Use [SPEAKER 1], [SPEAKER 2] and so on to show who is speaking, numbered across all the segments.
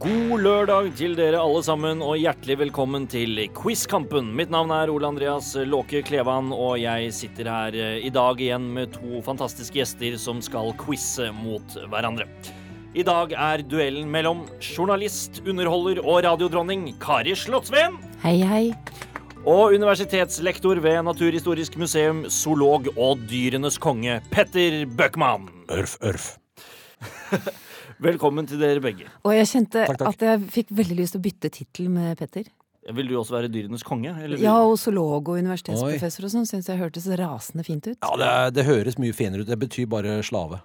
[SPEAKER 1] God lørdag til dere alle sammen, og hjertelig velkommen til Quizkampen. Mitt navn er Ole Andreas Låke Klevan, og jeg sitter her eh, i dag igjen med to fantastiske gjester som skal quize mot hverandre. I dag er duellen mellom journalist, underholder og radiodronning Kari Slottsveen
[SPEAKER 2] Hei, hei.
[SPEAKER 1] og universitetslektor ved Naturhistorisk museum, zoolog og dyrenes konge Petter Bøckmann.
[SPEAKER 3] Ørf, ørf.
[SPEAKER 1] Velkommen til dere begge.
[SPEAKER 2] Og jeg kjente
[SPEAKER 3] Takk, takk.
[SPEAKER 2] at jeg fikk veldig lyst til å bytte tittel med Petter.
[SPEAKER 1] Vil du også være dyrenes konge? eller vil-
[SPEAKER 2] Ja, og zoolog og universitetsprofessor og sånn syns jeg hørtes rasende fint ut.
[SPEAKER 3] Ja, det, er- det høres mye finere ut. Det betyr bare slave.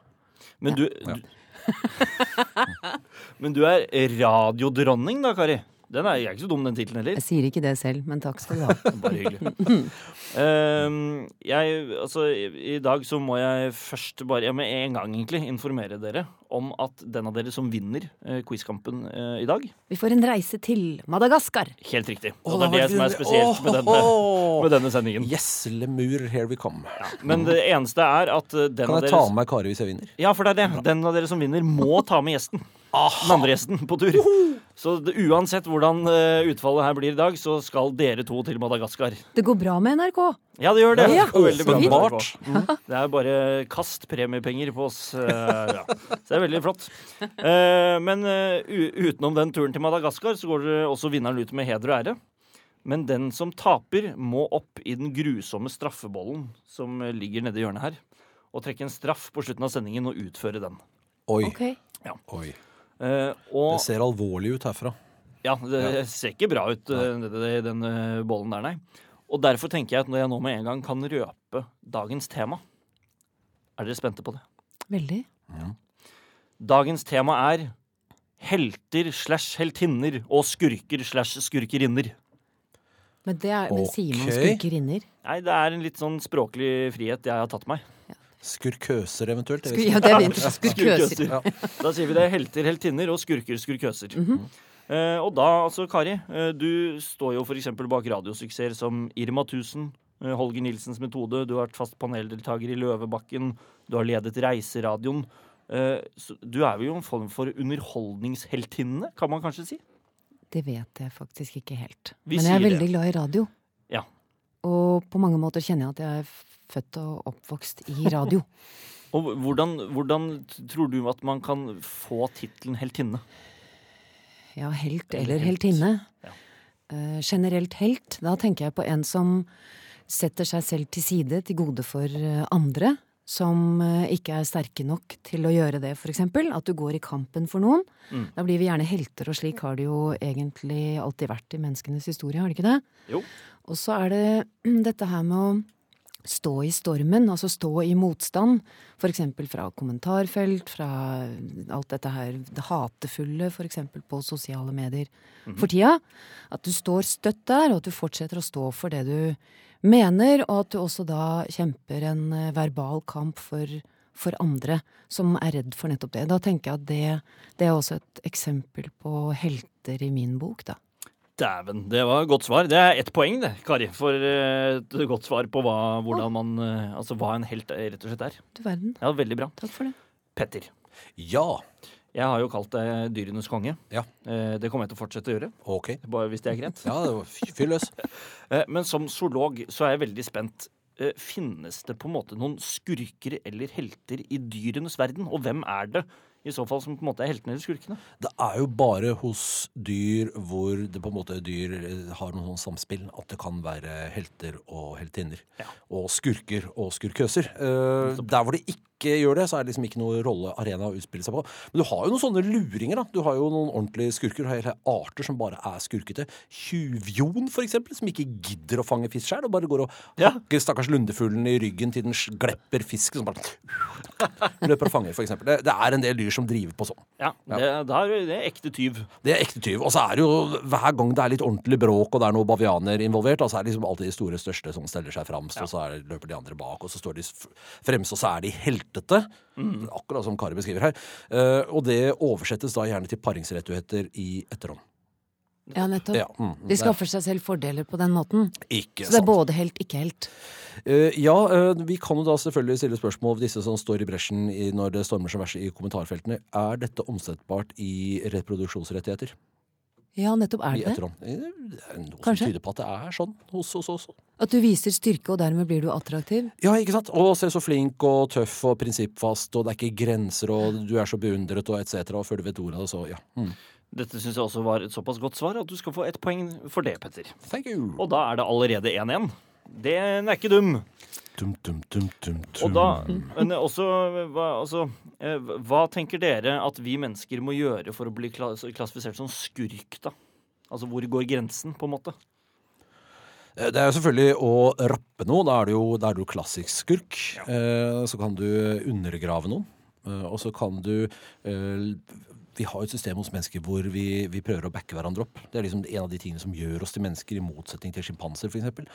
[SPEAKER 1] Men du, du Men du er radiodronning da, Kari. Den er, jeg er ikke så dum, den tittelen heller.
[SPEAKER 2] Jeg sier ikke det selv, men takk skal du ha.
[SPEAKER 1] Bare hyggelig. Ehm, jeg, altså, i, I dag så må jeg først bare ja, med en gang egentlig informere dere om at den av dere som vinner eh, quizkampen eh, i dag
[SPEAKER 2] Vi får en reise til Madagaskar.
[SPEAKER 1] Helt riktig. Og det er det som er spesielt med denne, med denne sendingen.
[SPEAKER 3] Yes, Lemur, here we come.
[SPEAKER 1] Men det eneste er at eh, den
[SPEAKER 3] Kan
[SPEAKER 1] av
[SPEAKER 3] jeg
[SPEAKER 1] dere
[SPEAKER 3] ta med meg Kari hvis jeg vinner?
[SPEAKER 1] Ja, for det er det. Den av dere som vinner, må ta med gjesten. Den andre gjesten på tur. Så det, uansett hvordan eh, utfallet her blir i dag, så skal dere to til Madagaskar.
[SPEAKER 2] Det går bra med NRK.
[SPEAKER 1] Ja, det gjør det.
[SPEAKER 2] Ja,
[SPEAKER 1] Det går veldig bra med
[SPEAKER 3] åpenbart.
[SPEAKER 1] dere på. Mm. Det er bare kast premiepenger på oss. eh, ja. Så det er veldig flott. Eh, men eh, u utenom den turen til Madagaskar, så går dere også vinneren ut med heder og ære. Men den som taper, må opp i den grusomme straffebollen som eh, ligger nede i hjørnet her, og trekke en straff på slutten av sendingen og utføre den.
[SPEAKER 3] Oi.
[SPEAKER 2] Ok.
[SPEAKER 3] Oi.
[SPEAKER 1] Eh,
[SPEAKER 3] Det
[SPEAKER 1] og
[SPEAKER 3] ser alvorlig ut herfra.
[SPEAKER 1] ja, det ser ikke bra ut, eh, det, det, den eh, bollen der, nei. Og derfor tenker jeg at når jeg nå med en gang kan røpe dagens tema Er dere spente på det?
[SPEAKER 2] Veldig.
[SPEAKER 1] Dagens tema er helter slash heltinner og skurker slash skurkerinner.
[SPEAKER 2] Men, det er, men sier man
[SPEAKER 3] Ok.
[SPEAKER 2] skurkerinner?
[SPEAKER 1] Nei, det er en litt sånn språklig frihet jeg har tatt meg.
[SPEAKER 3] Skurkøser eventuelt. jeg
[SPEAKER 2] Skur,
[SPEAKER 3] vet ikke.
[SPEAKER 2] ja, det vet jeg. Skurkøser.
[SPEAKER 1] Skurkøser. Da sier vi det. Helter, heltinner og skurker, skurkøser. Eh, og da, altså, Kari, eh, du står jo f.eks. bak radiosuksesser som Irma 1000, eh, Holger Nilsens metode, du har vært fast paneldeltaker i Løvebakken, du har ledet Reiseradioen. Eh, så du er jo en form for underholdningsheltinne, kan man kanskje si?
[SPEAKER 2] Det vet jeg faktisk ikke helt.
[SPEAKER 1] Vi
[SPEAKER 2] Men jeg er
[SPEAKER 1] sier det.
[SPEAKER 2] veldig glad i radio.
[SPEAKER 1] Ja.
[SPEAKER 2] Og på mange måter kjenner jeg at jeg er født og oppvokst i radio.
[SPEAKER 1] Og hvordan, hvordan t- tror du at man kan få tittelen heltinne?
[SPEAKER 2] Ja, helt
[SPEAKER 1] Eller
[SPEAKER 2] eller
[SPEAKER 1] helt.
[SPEAKER 2] heltinne.
[SPEAKER 1] Ja.
[SPEAKER 2] Eh, generelt helt. Da tenker jeg på en som setter seg selv til side til gode for eh, andre. Som eh, ikke er sterke nok til å gjøre det, f.eks. At du går i kampen for noen.
[SPEAKER 1] Mm.
[SPEAKER 2] Da blir vi gjerne helter, og slik har det jo egentlig alltid vært i menneskenes historie, har det ikke det?
[SPEAKER 1] Jo.
[SPEAKER 2] Og så er det dette her med å stå i stormen, altså stå i motstand. For eksempel fra kommentarfelt, fra alt dette her det hatefulle, for eksempel på sosiale medier for tida. At du står støtt der, og at du fortsetter å stå for det du mener, og at du også da kjemper en eh, verbal kamp for, for andre som er redd for nettopp det. Da tenker jeg at det, det er også et eksempel på helter i min bok, da.
[SPEAKER 1] Dæven, det var et godt svar. Det er ett poeng, det, Kari. For eh, et godt svar på hva, hvordan man, eh, altså, hva en helt eh, rett og slett er.
[SPEAKER 2] Du verden.
[SPEAKER 1] Ja, Veldig bra.
[SPEAKER 2] Takk for det.
[SPEAKER 1] Petter,
[SPEAKER 3] Ja.
[SPEAKER 1] jeg har jo kalt deg dyrenes konge.
[SPEAKER 3] Ja.
[SPEAKER 1] Eh, Det kommer jeg til å fortsette å gjøre,
[SPEAKER 3] Ok.
[SPEAKER 1] bare hvis det er greit.
[SPEAKER 3] Ja, det var- fyr løs.
[SPEAKER 1] Eh, Men som zoolog så er jeg veldig spent. Eh, Finnes det på en måte noen skurker eller helter i dyrenes verden? Og hvem er det i så fall som på en måte er heltene eller skurkene?
[SPEAKER 3] Det er jo bare hos dyr hvor det på en måte dyr eh, har noe sånn samspill at det kan være helter og heltinner.
[SPEAKER 1] Ja.
[SPEAKER 3] Og skurker og skurkøser. Eh, der hvor det ikke gjør det, så er det liksom ikke noe rollearena å utspille seg på. Men du har jo noen sånne luringer, da. Du har jo noen ordentlige skurker. Du har hele arter som bare er skurkete. Tjuvjon, for eksempel, som ikke gidder å fange fisk sjøl, og bare går og
[SPEAKER 1] Ja.
[SPEAKER 3] hakker stakkars lundefuglen i ryggen til den glepper fisken, som bare løper og fanger, for eksempel. Det, det er en del dyr som driver på sånn.
[SPEAKER 1] Ja, det, da er det- det er ekte tyv.
[SPEAKER 3] Det er ekte tyv. Og så er det jo hver gang det er litt ordentlig bråk og det er noen bavianer involvert, da, så er det liksom alltid de store største som steller seg fremst, og så er, det- løper de andre bak, og så står de f- fremst, og så er de heltete.
[SPEAKER 2] Mm.
[SPEAKER 3] Akkurat
[SPEAKER 2] Mm.
[SPEAKER 3] som Kari beskriver her. Eh, og det oversettes da gjerne til paringsrettigheter i etterhånd.
[SPEAKER 2] Ja, nettopp.
[SPEAKER 3] Ja, mm,
[SPEAKER 2] De skaffer seg selv fordeler på den måten.
[SPEAKER 3] Ikke
[SPEAKER 2] Så det er
[SPEAKER 3] sant.
[SPEAKER 2] både helt, ikke helt.
[SPEAKER 3] Eh, ja, eh, vi kan jo da selvfølgelig stille spørsmål disse som står i bresjen i, når det stormer som verst i kommentarfeltene. Er dette omsettbart i reproduksjonsrettigheter?
[SPEAKER 2] Ja, nettopp er
[SPEAKER 3] I
[SPEAKER 2] det det.
[SPEAKER 3] etterhånd? Eh, Det er noe
[SPEAKER 2] Kanskje.
[SPEAKER 3] som tyder på at det er sånn hos oss også.
[SPEAKER 2] At du viser styrke, og dermed blir du attraktiv.
[SPEAKER 3] Ja, ikke sant? Å, se så flink og tøff og prinsippfast, og det er ikke grenser, og du er så beundret, og etc., og før du vet ordet av det, så ja. Mm.
[SPEAKER 1] Dette syns jeg også var et såpass godt svar at du skal få ett poeng for det, Petter.
[SPEAKER 3] Thank you.
[SPEAKER 1] Og da er det allerede 1-1. Den er ikke dum.
[SPEAKER 3] Dum, dum, dum, dum,
[SPEAKER 1] Og
[SPEAKER 3] dum.
[SPEAKER 1] da, men også, hva, altså, eh, hva tenker dere at vi mennesker må gjøre for å bli kla- klassifisert som skurk, da? Altså, hvor går grensen, på en måte?
[SPEAKER 3] Eh, Det er jo selvfølgelig å rappe noe. Da er du jo, da er du jo klassisk skurk. Eh, så kan du undergrave noen. Eh, og så kan du eh, Vi har jo et system hos mennesker hvor vi, vi prøver å backe hverandre opp. Det er liksom en av de tingene som gjør oss til mennesker, i motsetning til sjimpanser f.eks.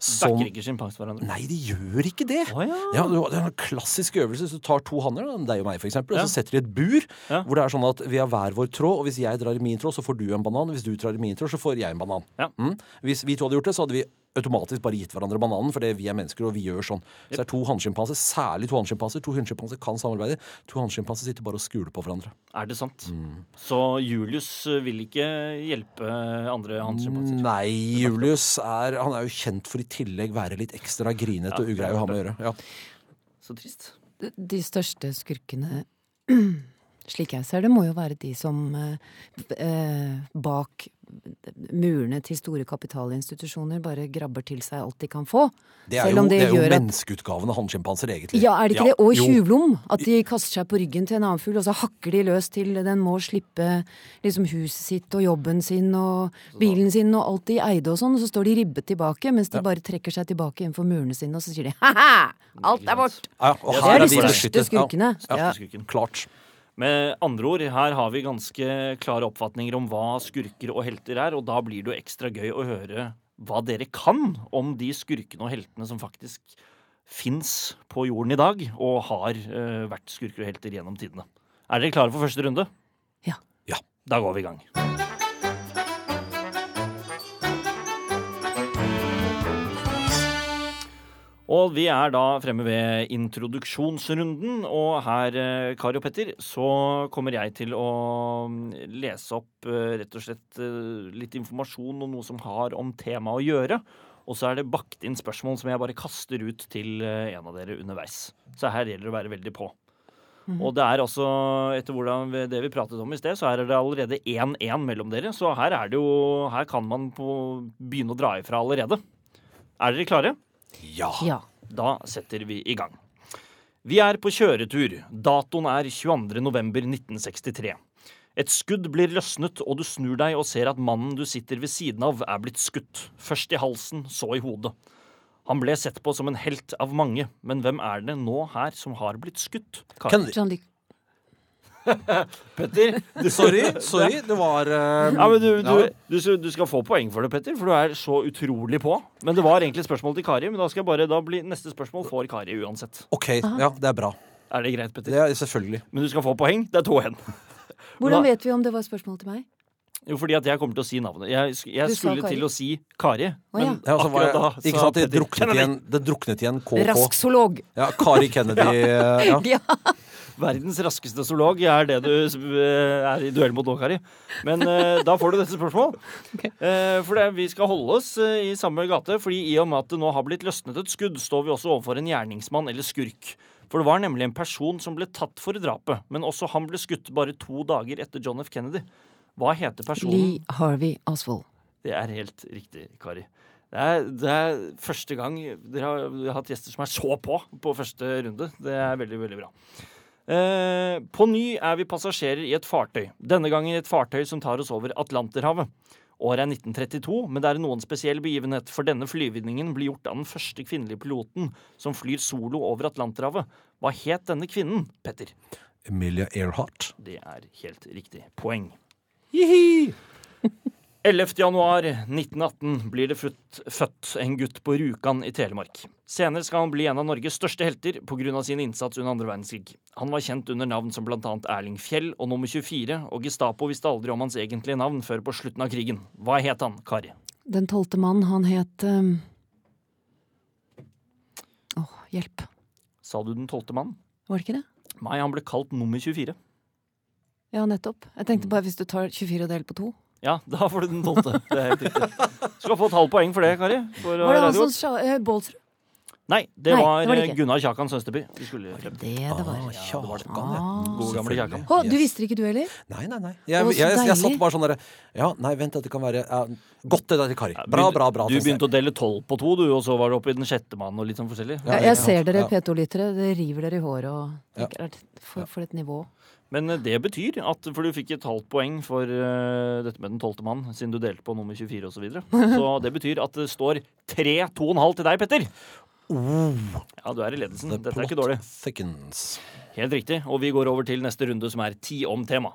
[SPEAKER 3] Sånn-
[SPEAKER 1] Backer ikke sjimpanser hverandre?
[SPEAKER 3] Nei, de gjør ikke det!
[SPEAKER 1] Å ja.
[SPEAKER 3] Ja, det er en klassisk øvelse. Så du tar to hanner, da, deg og meg for eksempel,
[SPEAKER 1] Ja.
[SPEAKER 3] og så setter de et bur
[SPEAKER 1] Ja.
[SPEAKER 3] hvor det er sånn at vi har hver vår tråd. Og hvis jeg drar i min tråd, så får du en banan. og Hvis du drar i min tråd, så får jeg en banan.
[SPEAKER 1] Ja.
[SPEAKER 3] Mm. Hvis vi to hadde gjort det, så hadde vi automatisk bare gitt hverandre bananen, fordi vi er mennesker og vi gjør sånn. Så det er to hannsjimpanser, særlig to hannsjimpanser. To hunnsjimpanser kan samarbeide. To hannsjimpanser sitter bare og skuler på hverandre.
[SPEAKER 1] Er det sant? Så Julius eh, vil ikke hjelpe andre hans sjimpanser?
[SPEAKER 3] Nei, Julius er Han er jo kjent for i tillegg være litt ekstra grinete og ugrei å ha med å gjøre. Ja.
[SPEAKER 1] Så trist.
[SPEAKER 2] De- De største skurkene, slik jeg ser det, må jo være de som eh, b- eh, bak murene til store kapitalinstitusjoner bare grabber til seg alt de kan få.
[SPEAKER 3] Det er
[SPEAKER 2] Selv
[SPEAKER 3] jo,
[SPEAKER 2] om
[SPEAKER 3] det
[SPEAKER 2] det
[SPEAKER 3] er jo
[SPEAKER 2] gjør at-
[SPEAKER 3] menneskeutgaven av hannsjimpanser, egentlig.
[SPEAKER 2] Ja, er det ikke det? Og
[SPEAKER 3] Jo.
[SPEAKER 2] tjuvlom. At de kaster seg på ryggen til en annen fugl, og så hakker de løs til den må slippe liksom huset sitt og jobben sin og bilen sin og alt de eide og sånn, og så står de ribbet tilbake, mens de bare trekker seg tilbake innenfor murene sine, og så sier de ha-ha, alt er vårt.
[SPEAKER 3] Ja, og
[SPEAKER 1] Det
[SPEAKER 2] Det
[SPEAKER 3] her
[SPEAKER 2] er
[SPEAKER 1] er
[SPEAKER 2] de
[SPEAKER 1] de
[SPEAKER 2] største
[SPEAKER 3] beskyttet. Ja.
[SPEAKER 2] skurkene. Ja.
[SPEAKER 1] Skurken.
[SPEAKER 3] Klart.
[SPEAKER 1] Med andre ord, her har vi ganske klare oppfatninger om hva skurker og helter er, og da blir det jo ekstra gøy å høre hva dere kan om de skurkene og heltene som faktisk fins på jorden i dag, og har eh, vært skurker og helter gjennom tidene. Er dere klare for første runde?
[SPEAKER 2] Ja.
[SPEAKER 3] Ja.
[SPEAKER 1] Da går vi i gang. Og vi er da fremme ved introduksjonsrunden, og her, eh, Kari og Petter, så kommer jeg til å mm, lese opp eh, rett og slett eh, litt informasjon og noe som har om temaet å gjøre. Og så er det bakt inn spørsmål som jeg bare kaster ut til eh, en av dere underveis. Så her gjelder det å være veldig på. Og det er altså, etter hvordan vi- det vi pratet om i sted, så her er det allerede 1-1 mellom dere. Så her er det jo Her kan man på, begynne å dra ifra allerede. Er dere klare?
[SPEAKER 3] Ja.
[SPEAKER 2] ja.
[SPEAKER 1] Da setter vi i gang. Vi er på kjøretur. Datoen er 22.11.1963. Et skudd blir løsnet, og du snur deg og ser at mannen du sitter ved siden av, er blitt skutt. Først i halsen, så i hodet. Han ble sett på som en helt av mange, men hvem er det nå her som har blitt skutt? Kari?
[SPEAKER 3] Kan,
[SPEAKER 2] John Dick.
[SPEAKER 1] Petter, du,
[SPEAKER 3] sorry, sorry, det var eh,
[SPEAKER 1] Ja, men du,
[SPEAKER 3] ja.
[SPEAKER 1] du, du, du skal få poeng for det, Petter, for du er så utrolig på. Men det var egentlig spørsmål til Kari, men da skal jeg bare, da blir neste spørsmål får Kari uansett.
[SPEAKER 3] OK,
[SPEAKER 2] Ah.
[SPEAKER 3] ja, det er bra.
[SPEAKER 1] Er det greit, Petter?
[SPEAKER 3] Det er selvfølgelig.
[SPEAKER 1] Men du skal få poeng. Det er to igjen.
[SPEAKER 2] Hvordan
[SPEAKER 1] Nei.
[SPEAKER 2] vet vi om det var spørsmål til meg?
[SPEAKER 1] Jo, fordi at jeg kommer til å si navnet. Jeg, sk-
[SPEAKER 2] Du
[SPEAKER 1] jeg
[SPEAKER 2] sa
[SPEAKER 1] skulle
[SPEAKER 2] Kari.
[SPEAKER 1] til å si Kari,
[SPEAKER 2] Å,
[SPEAKER 1] men
[SPEAKER 2] ja.
[SPEAKER 3] Ja, så var
[SPEAKER 1] akkurat da
[SPEAKER 3] jeg, ikke sant, det druknet igjen, det druknet igjen KK.
[SPEAKER 2] Rasksoloog.
[SPEAKER 3] Ja, Kari Kennedy. eh, Ja.
[SPEAKER 2] Ja.
[SPEAKER 1] Verdens raskeste zoolog er det du s- er i duell mot nå, Kari. Men eh, da får du dette spørsmål. Eh, for det, vi skal holde oss eh, i samme gate, fordi i og med at det nå har blitt løsnet et skudd, står vi også overfor en gjerningsmann eller skurk. For det var nemlig en person som ble tatt for drapet, men også han ble skutt bare to dager etter John F. Kennedy. Hva heter personen?
[SPEAKER 2] Lee Harvey Oswald.
[SPEAKER 1] Det er helt riktig, Kari. Det er, det er første gang dere har, dere har hatt gjester som er så på på første runde. Det er veldig, veldig bra. Eh, på ny er vi passasjerer i et fartøy. Denne gangen i et fartøy som tar oss over Atlanterhavet. Året er 1932, men det er noen spesiell begivenhet, for denne flyvningen blir gjort av den første kvinnelige piloten som flyr solo over Atlanterhavet. Hva het denne kvinnen, Petter?
[SPEAKER 3] Emilia Earhart.
[SPEAKER 1] Det er helt riktig. Poeng. 11. januar 1918 blir det futt, født en gutt på Rjukan i Telemark. Senere skal han bli en av Norges største helter pga. sin innsats under andre verdenskrig. Han var kjent under navn som bl.a. Erling Fjell og nummer 24, og Gestapo visste aldri om hans egentlige navn før på slutten av krigen. Hva het han, Kari?
[SPEAKER 2] Den tolvte mann, han het ehm, Åh, hjelp.
[SPEAKER 1] Sa du den tolvte mannen?
[SPEAKER 2] Var det ikke det?
[SPEAKER 1] Nei, han ble kalt nummer 24.
[SPEAKER 2] Ja, nettopp. Jeg tenkte bare hvis du tar 24 og deler på to.
[SPEAKER 1] Ja, da får du den tolvte. Det er helt riktig. Skal få et halvt poeng for det, Kari. For å
[SPEAKER 2] Var det
[SPEAKER 1] regne
[SPEAKER 2] han som
[SPEAKER 1] godt.
[SPEAKER 2] sa eh, Bålsrud?
[SPEAKER 1] Nei, det
[SPEAKER 2] Nei,
[SPEAKER 1] var,
[SPEAKER 2] det var det
[SPEAKER 1] eh,
[SPEAKER 2] ikke.
[SPEAKER 1] Gunnar Kjakan Sønsteby. Vi skulle frem.
[SPEAKER 2] Det det var.
[SPEAKER 3] Ah,
[SPEAKER 1] Ja, det var det.
[SPEAKER 3] Kjakan, ja.
[SPEAKER 2] Ah.
[SPEAKER 1] God gamle
[SPEAKER 3] Selvfølgelig.
[SPEAKER 1] Kjakan.
[SPEAKER 2] Å, du
[SPEAKER 3] Yes.
[SPEAKER 2] visste det ikke du heller?
[SPEAKER 3] Nei, nei, nei. Jeg,
[SPEAKER 2] Å,
[SPEAKER 3] jeg,
[SPEAKER 2] så
[SPEAKER 3] jeg,
[SPEAKER 2] deilig.
[SPEAKER 3] satt bare sånn derre Ja, nei, vent, dette kan være ja, Godt det der til Kari.
[SPEAKER 1] Ja,
[SPEAKER 3] Bra,
[SPEAKER 1] begynte-
[SPEAKER 3] bra, bra.
[SPEAKER 1] Du begynte å dele tolv på to, du, og så var det oppe i den sjette mannen og litt sånn forskjellig.
[SPEAKER 3] Ja,
[SPEAKER 2] Ja,
[SPEAKER 3] ja,
[SPEAKER 2] jeg ser dere
[SPEAKER 3] ja.
[SPEAKER 2] P2-lyttere. Det river dere i håret og
[SPEAKER 3] Ja.
[SPEAKER 2] tenker at for, for et nivå.
[SPEAKER 1] Men eh, det betyr at For du fikk et halvt poeng for eh, dette med den tolvte mann, siden du delte på nummer 24 osv. Så, videre. så det betyr at det står 3-2,5 til deg, Petter.
[SPEAKER 3] Oh.
[SPEAKER 1] Ja, du er i ledelsen. Dette er ikke dårlig.
[SPEAKER 3] Thickens.
[SPEAKER 1] Helt riktig. Og vi går over til neste runde, som er ti om tema.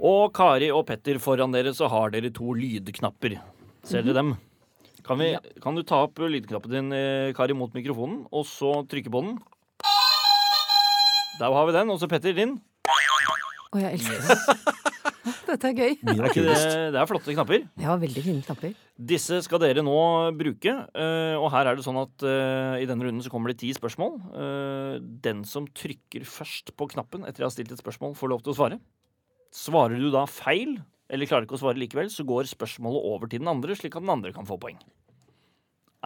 [SPEAKER 1] Og Kari og Petter, foran dere så har dere to lydknapper. Ser dere dem? Kan, vi, kan du ta opp lydknappen din, eh, Kari, mot mikrofonen, og så trykke på den? Der har vi den. Og så Petter, din.
[SPEAKER 2] Å, jeg elsker det. Dette er gøy.
[SPEAKER 3] Min er
[SPEAKER 1] Det,
[SPEAKER 3] kulest.
[SPEAKER 1] det er flotte knapper.
[SPEAKER 2] Ja, veldig fine knapper.
[SPEAKER 1] Disse skal dere nå bruke, eh, og her er det sånn at eh, i denne runden så kommer det ti spørsmål. Eh, Den som trykker først på knappen etter jeg har stilt et spørsmål, får lov til å svare. Svarer du da feil, eller klarer ikke å svare likevel, så går spørsmålet over til den andre, slik at den andre kan få poeng.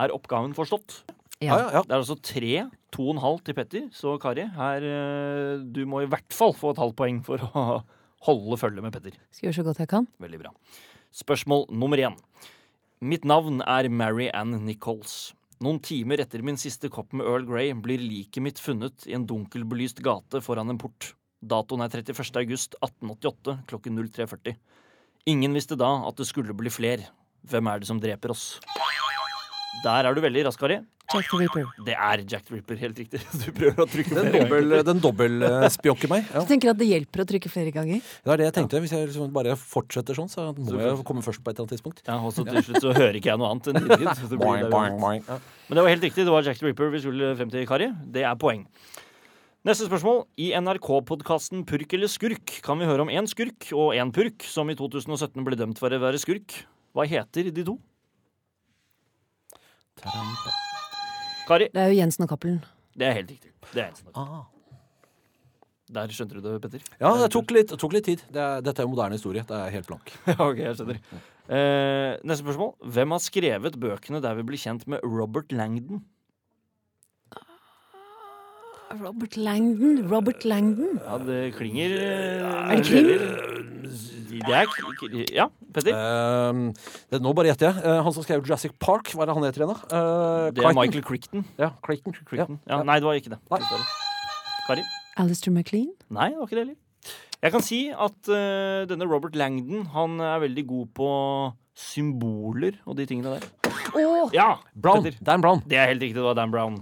[SPEAKER 1] Er oppgaven forstått?
[SPEAKER 3] Ja,
[SPEAKER 2] Ja.
[SPEAKER 3] ja, ja.
[SPEAKER 1] Det er altså tre, to og en halv til Petter, så Kari, her, eh, du må i hvert fall få et halvt poeng for å holde følge med Petter.
[SPEAKER 2] Skal gjøre så godt jeg kan.
[SPEAKER 1] Veldig bra. Spørsmål nummer én. Mitt navn er Mary Ann Nichols. Noen timer etter min siste kopp med Earl Grey blir liket mitt funnet i en dunkelbelyst gate foran en port. Datoen er 31. august 1888 klokken 03.40. Ingen visste da at det skulle bli fler. Hvem er det som dreper oss? Der er du veldig rask, Kari.
[SPEAKER 2] Jack the Ripper.
[SPEAKER 1] Det er Jack the Ripper, helt riktig. Du prøver å trykke
[SPEAKER 3] Den
[SPEAKER 1] flere ganger.
[SPEAKER 3] dobbel, den dobbel eh, spjokker meg. Ja.
[SPEAKER 2] Du tenker at det hjelper å trykke flere ganger?
[SPEAKER 3] Det er det jeg tenkte. Hvis jeg liksom bare fortsetter sånn, så må jeg komme først på et eller annet tidspunkt.
[SPEAKER 1] Ja, og så til slutt så hører ikke jeg noe annet enn lyd. så det blir
[SPEAKER 3] Boing,
[SPEAKER 1] det
[SPEAKER 3] boing,
[SPEAKER 1] uansett.
[SPEAKER 3] boing. Ja.
[SPEAKER 1] Men det var helt riktig. Det var Jack the Ripper vi skulle frem til, Kari. Det er poeng. Neste spørsmål. I NRK-podkasten Purk eller skurk kan vi høre om én skurk og én purk som i 2017 ble dømt for å være skurk. Hva heter de to? Kari,
[SPEAKER 2] Det er jo Jensen og Cappelen.
[SPEAKER 1] det er helt riktig. Det er eneste.
[SPEAKER 3] Ah.
[SPEAKER 1] Der skjønte du det, Petter.
[SPEAKER 3] Ja, det tok litt, tok litt tid. Det er, dette er jo moderne historie. Det er helt blank.
[SPEAKER 1] Ja, ok, jeg skjønner. Eh, neste spørsmål. Hvem har skrevet bøkene der vi blir kjent med Robert Langdon?
[SPEAKER 2] Robert Langdon. Robert Langdon.
[SPEAKER 1] Ja, det klinger eh,
[SPEAKER 2] Er det krim?
[SPEAKER 1] Det er krim. Ja, Petter?
[SPEAKER 3] Ehm, det, nå bare gjetter jeg. Eh, han som skrev Jurassic Park, hva er det han heter igjen, da? Eh,
[SPEAKER 1] Det er
[SPEAKER 3] Crichton.
[SPEAKER 1] Michael Crichton.
[SPEAKER 3] Ja, Crichton.
[SPEAKER 1] Crichton.
[SPEAKER 3] Ja.
[SPEAKER 1] Ja, nei, det var ikke det.
[SPEAKER 3] Nei.
[SPEAKER 1] Dessverre. Kari?
[SPEAKER 2] Alistair MacLean.
[SPEAKER 1] Nei, det var ikke det heller. Jeg kan si at eh, denne Robert Langdon han er veldig god på symboler og de tingene der.
[SPEAKER 2] Å,
[SPEAKER 1] Ja!
[SPEAKER 3] Brown.
[SPEAKER 1] Petter.
[SPEAKER 3] Dan Brown.
[SPEAKER 1] Det er helt riktig. Det var Dan Brown.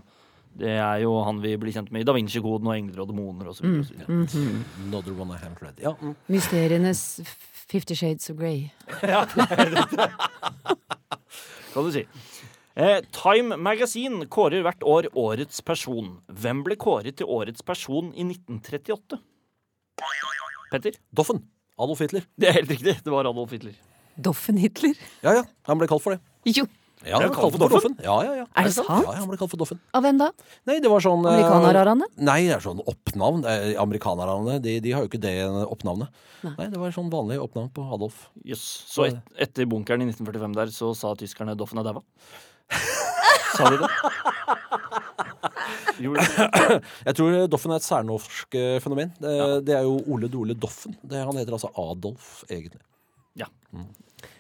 [SPEAKER 1] Det er jo han vi blir kjent med i Da Vinci-koden og Engler og demoner og så videre. og så videre.
[SPEAKER 3] Another one I haven't read. Ja, mm.
[SPEAKER 2] Mysterienes Fifty Shades of Grey.
[SPEAKER 1] Kan du si. Eh, Time Magazine kårer hvert år Årets person. Hvem ble kåret til Årets person i 1938? Petter?
[SPEAKER 3] Doffen. Adolf Hitler.
[SPEAKER 1] Det er helt riktig. Det var Adolf Hitler.
[SPEAKER 2] Doffen Hitler.
[SPEAKER 3] Ja, ja. Han ble kalt for det.
[SPEAKER 2] Jo,
[SPEAKER 3] Ja,
[SPEAKER 1] Ble
[SPEAKER 3] han
[SPEAKER 1] han
[SPEAKER 3] ble
[SPEAKER 1] kalt
[SPEAKER 3] kalt
[SPEAKER 1] for
[SPEAKER 3] for Doffen. Ja, ja, ja.
[SPEAKER 2] Er det sant?
[SPEAKER 3] Ja, han ble kalt for Doffen.
[SPEAKER 2] av hvem da?
[SPEAKER 3] Nei, det var sånn eh,
[SPEAKER 2] Amerikanerarane?
[SPEAKER 3] Nei, det er sånn oppnavn. Eh, Amerikanerne de, de har jo ikke det oppnavnet. Nei. det var sånn vanlig oppnavn på Adolf.
[SPEAKER 1] Jøss. Så et, etter bunkeren i 1945 der, så sa tyskerne 'Doffen er daua'? sa de det? Gjorde de det?
[SPEAKER 3] Jeg tror eh, Doffen er et særnorsk eh, fenomen. Det, det er jo Ole Dole Doffen. Det, han heter altså Adolf, egentlig.
[SPEAKER 1] Ja.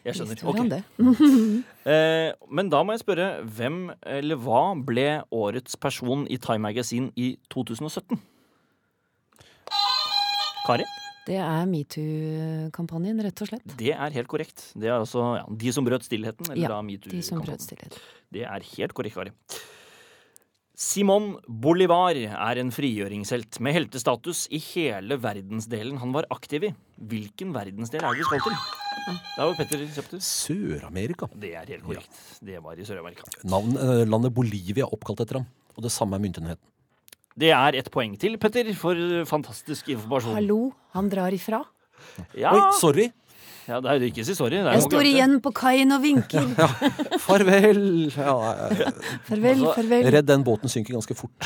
[SPEAKER 1] Jeg skjønner.
[SPEAKER 2] Visste
[SPEAKER 1] Ok.
[SPEAKER 2] han det?
[SPEAKER 1] Eh, men da må jeg spørre hvem eller hva ble årets person i Time Magazine i 2017? Kari?
[SPEAKER 2] Det er metoo-kampanjen, rett og slett.
[SPEAKER 1] Det er helt korrekt. Det er altså ja, de som brøt stillheten. Eller
[SPEAKER 2] Ja,
[SPEAKER 1] da metoo
[SPEAKER 2] De som
[SPEAKER 1] kampanjen.
[SPEAKER 2] brøt stillhet.
[SPEAKER 1] Det er helt korrekt, Kari. Simon Bolivar er en frigjøringshelt med heltestatus i hele verdensdelen han var aktiv i. Hvilken verdensdel er det vi skal til? Der var Petter Kjøpter.
[SPEAKER 3] Sør-Amerika.
[SPEAKER 1] Det er helt korrekt. Det var i Sør-Amerika.
[SPEAKER 3] Navn, eh, landet Bolivia er oppkalt etter ham. Og det samme er myntenheten.
[SPEAKER 1] Det er et poeng til, Petter, for fantastisk informasjon.
[SPEAKER 2] Hallo, han drar ifra.
[SPEAKER 1] Ja,
[SPEAKER 3] Oi, sorry!
[SPEAKER 1] ja det er jo ikke si sorry. Det er
[SPEAKER 2] Jeg
[SPEAKER 1] jo
[SPEAKER 2] står
[SPEAKER 1] ikke-
[SPEAKER 2] igjen på kaien og vinker.
[SPEAKER 3] Farvel! Ja, ja, ja.
[SPEAKER 2] Farvel,
[SPEAKER 1] Altså,
[SPEAKER 2] farvel.
[SPEAKER 3] Redd den båten synker ganske fort.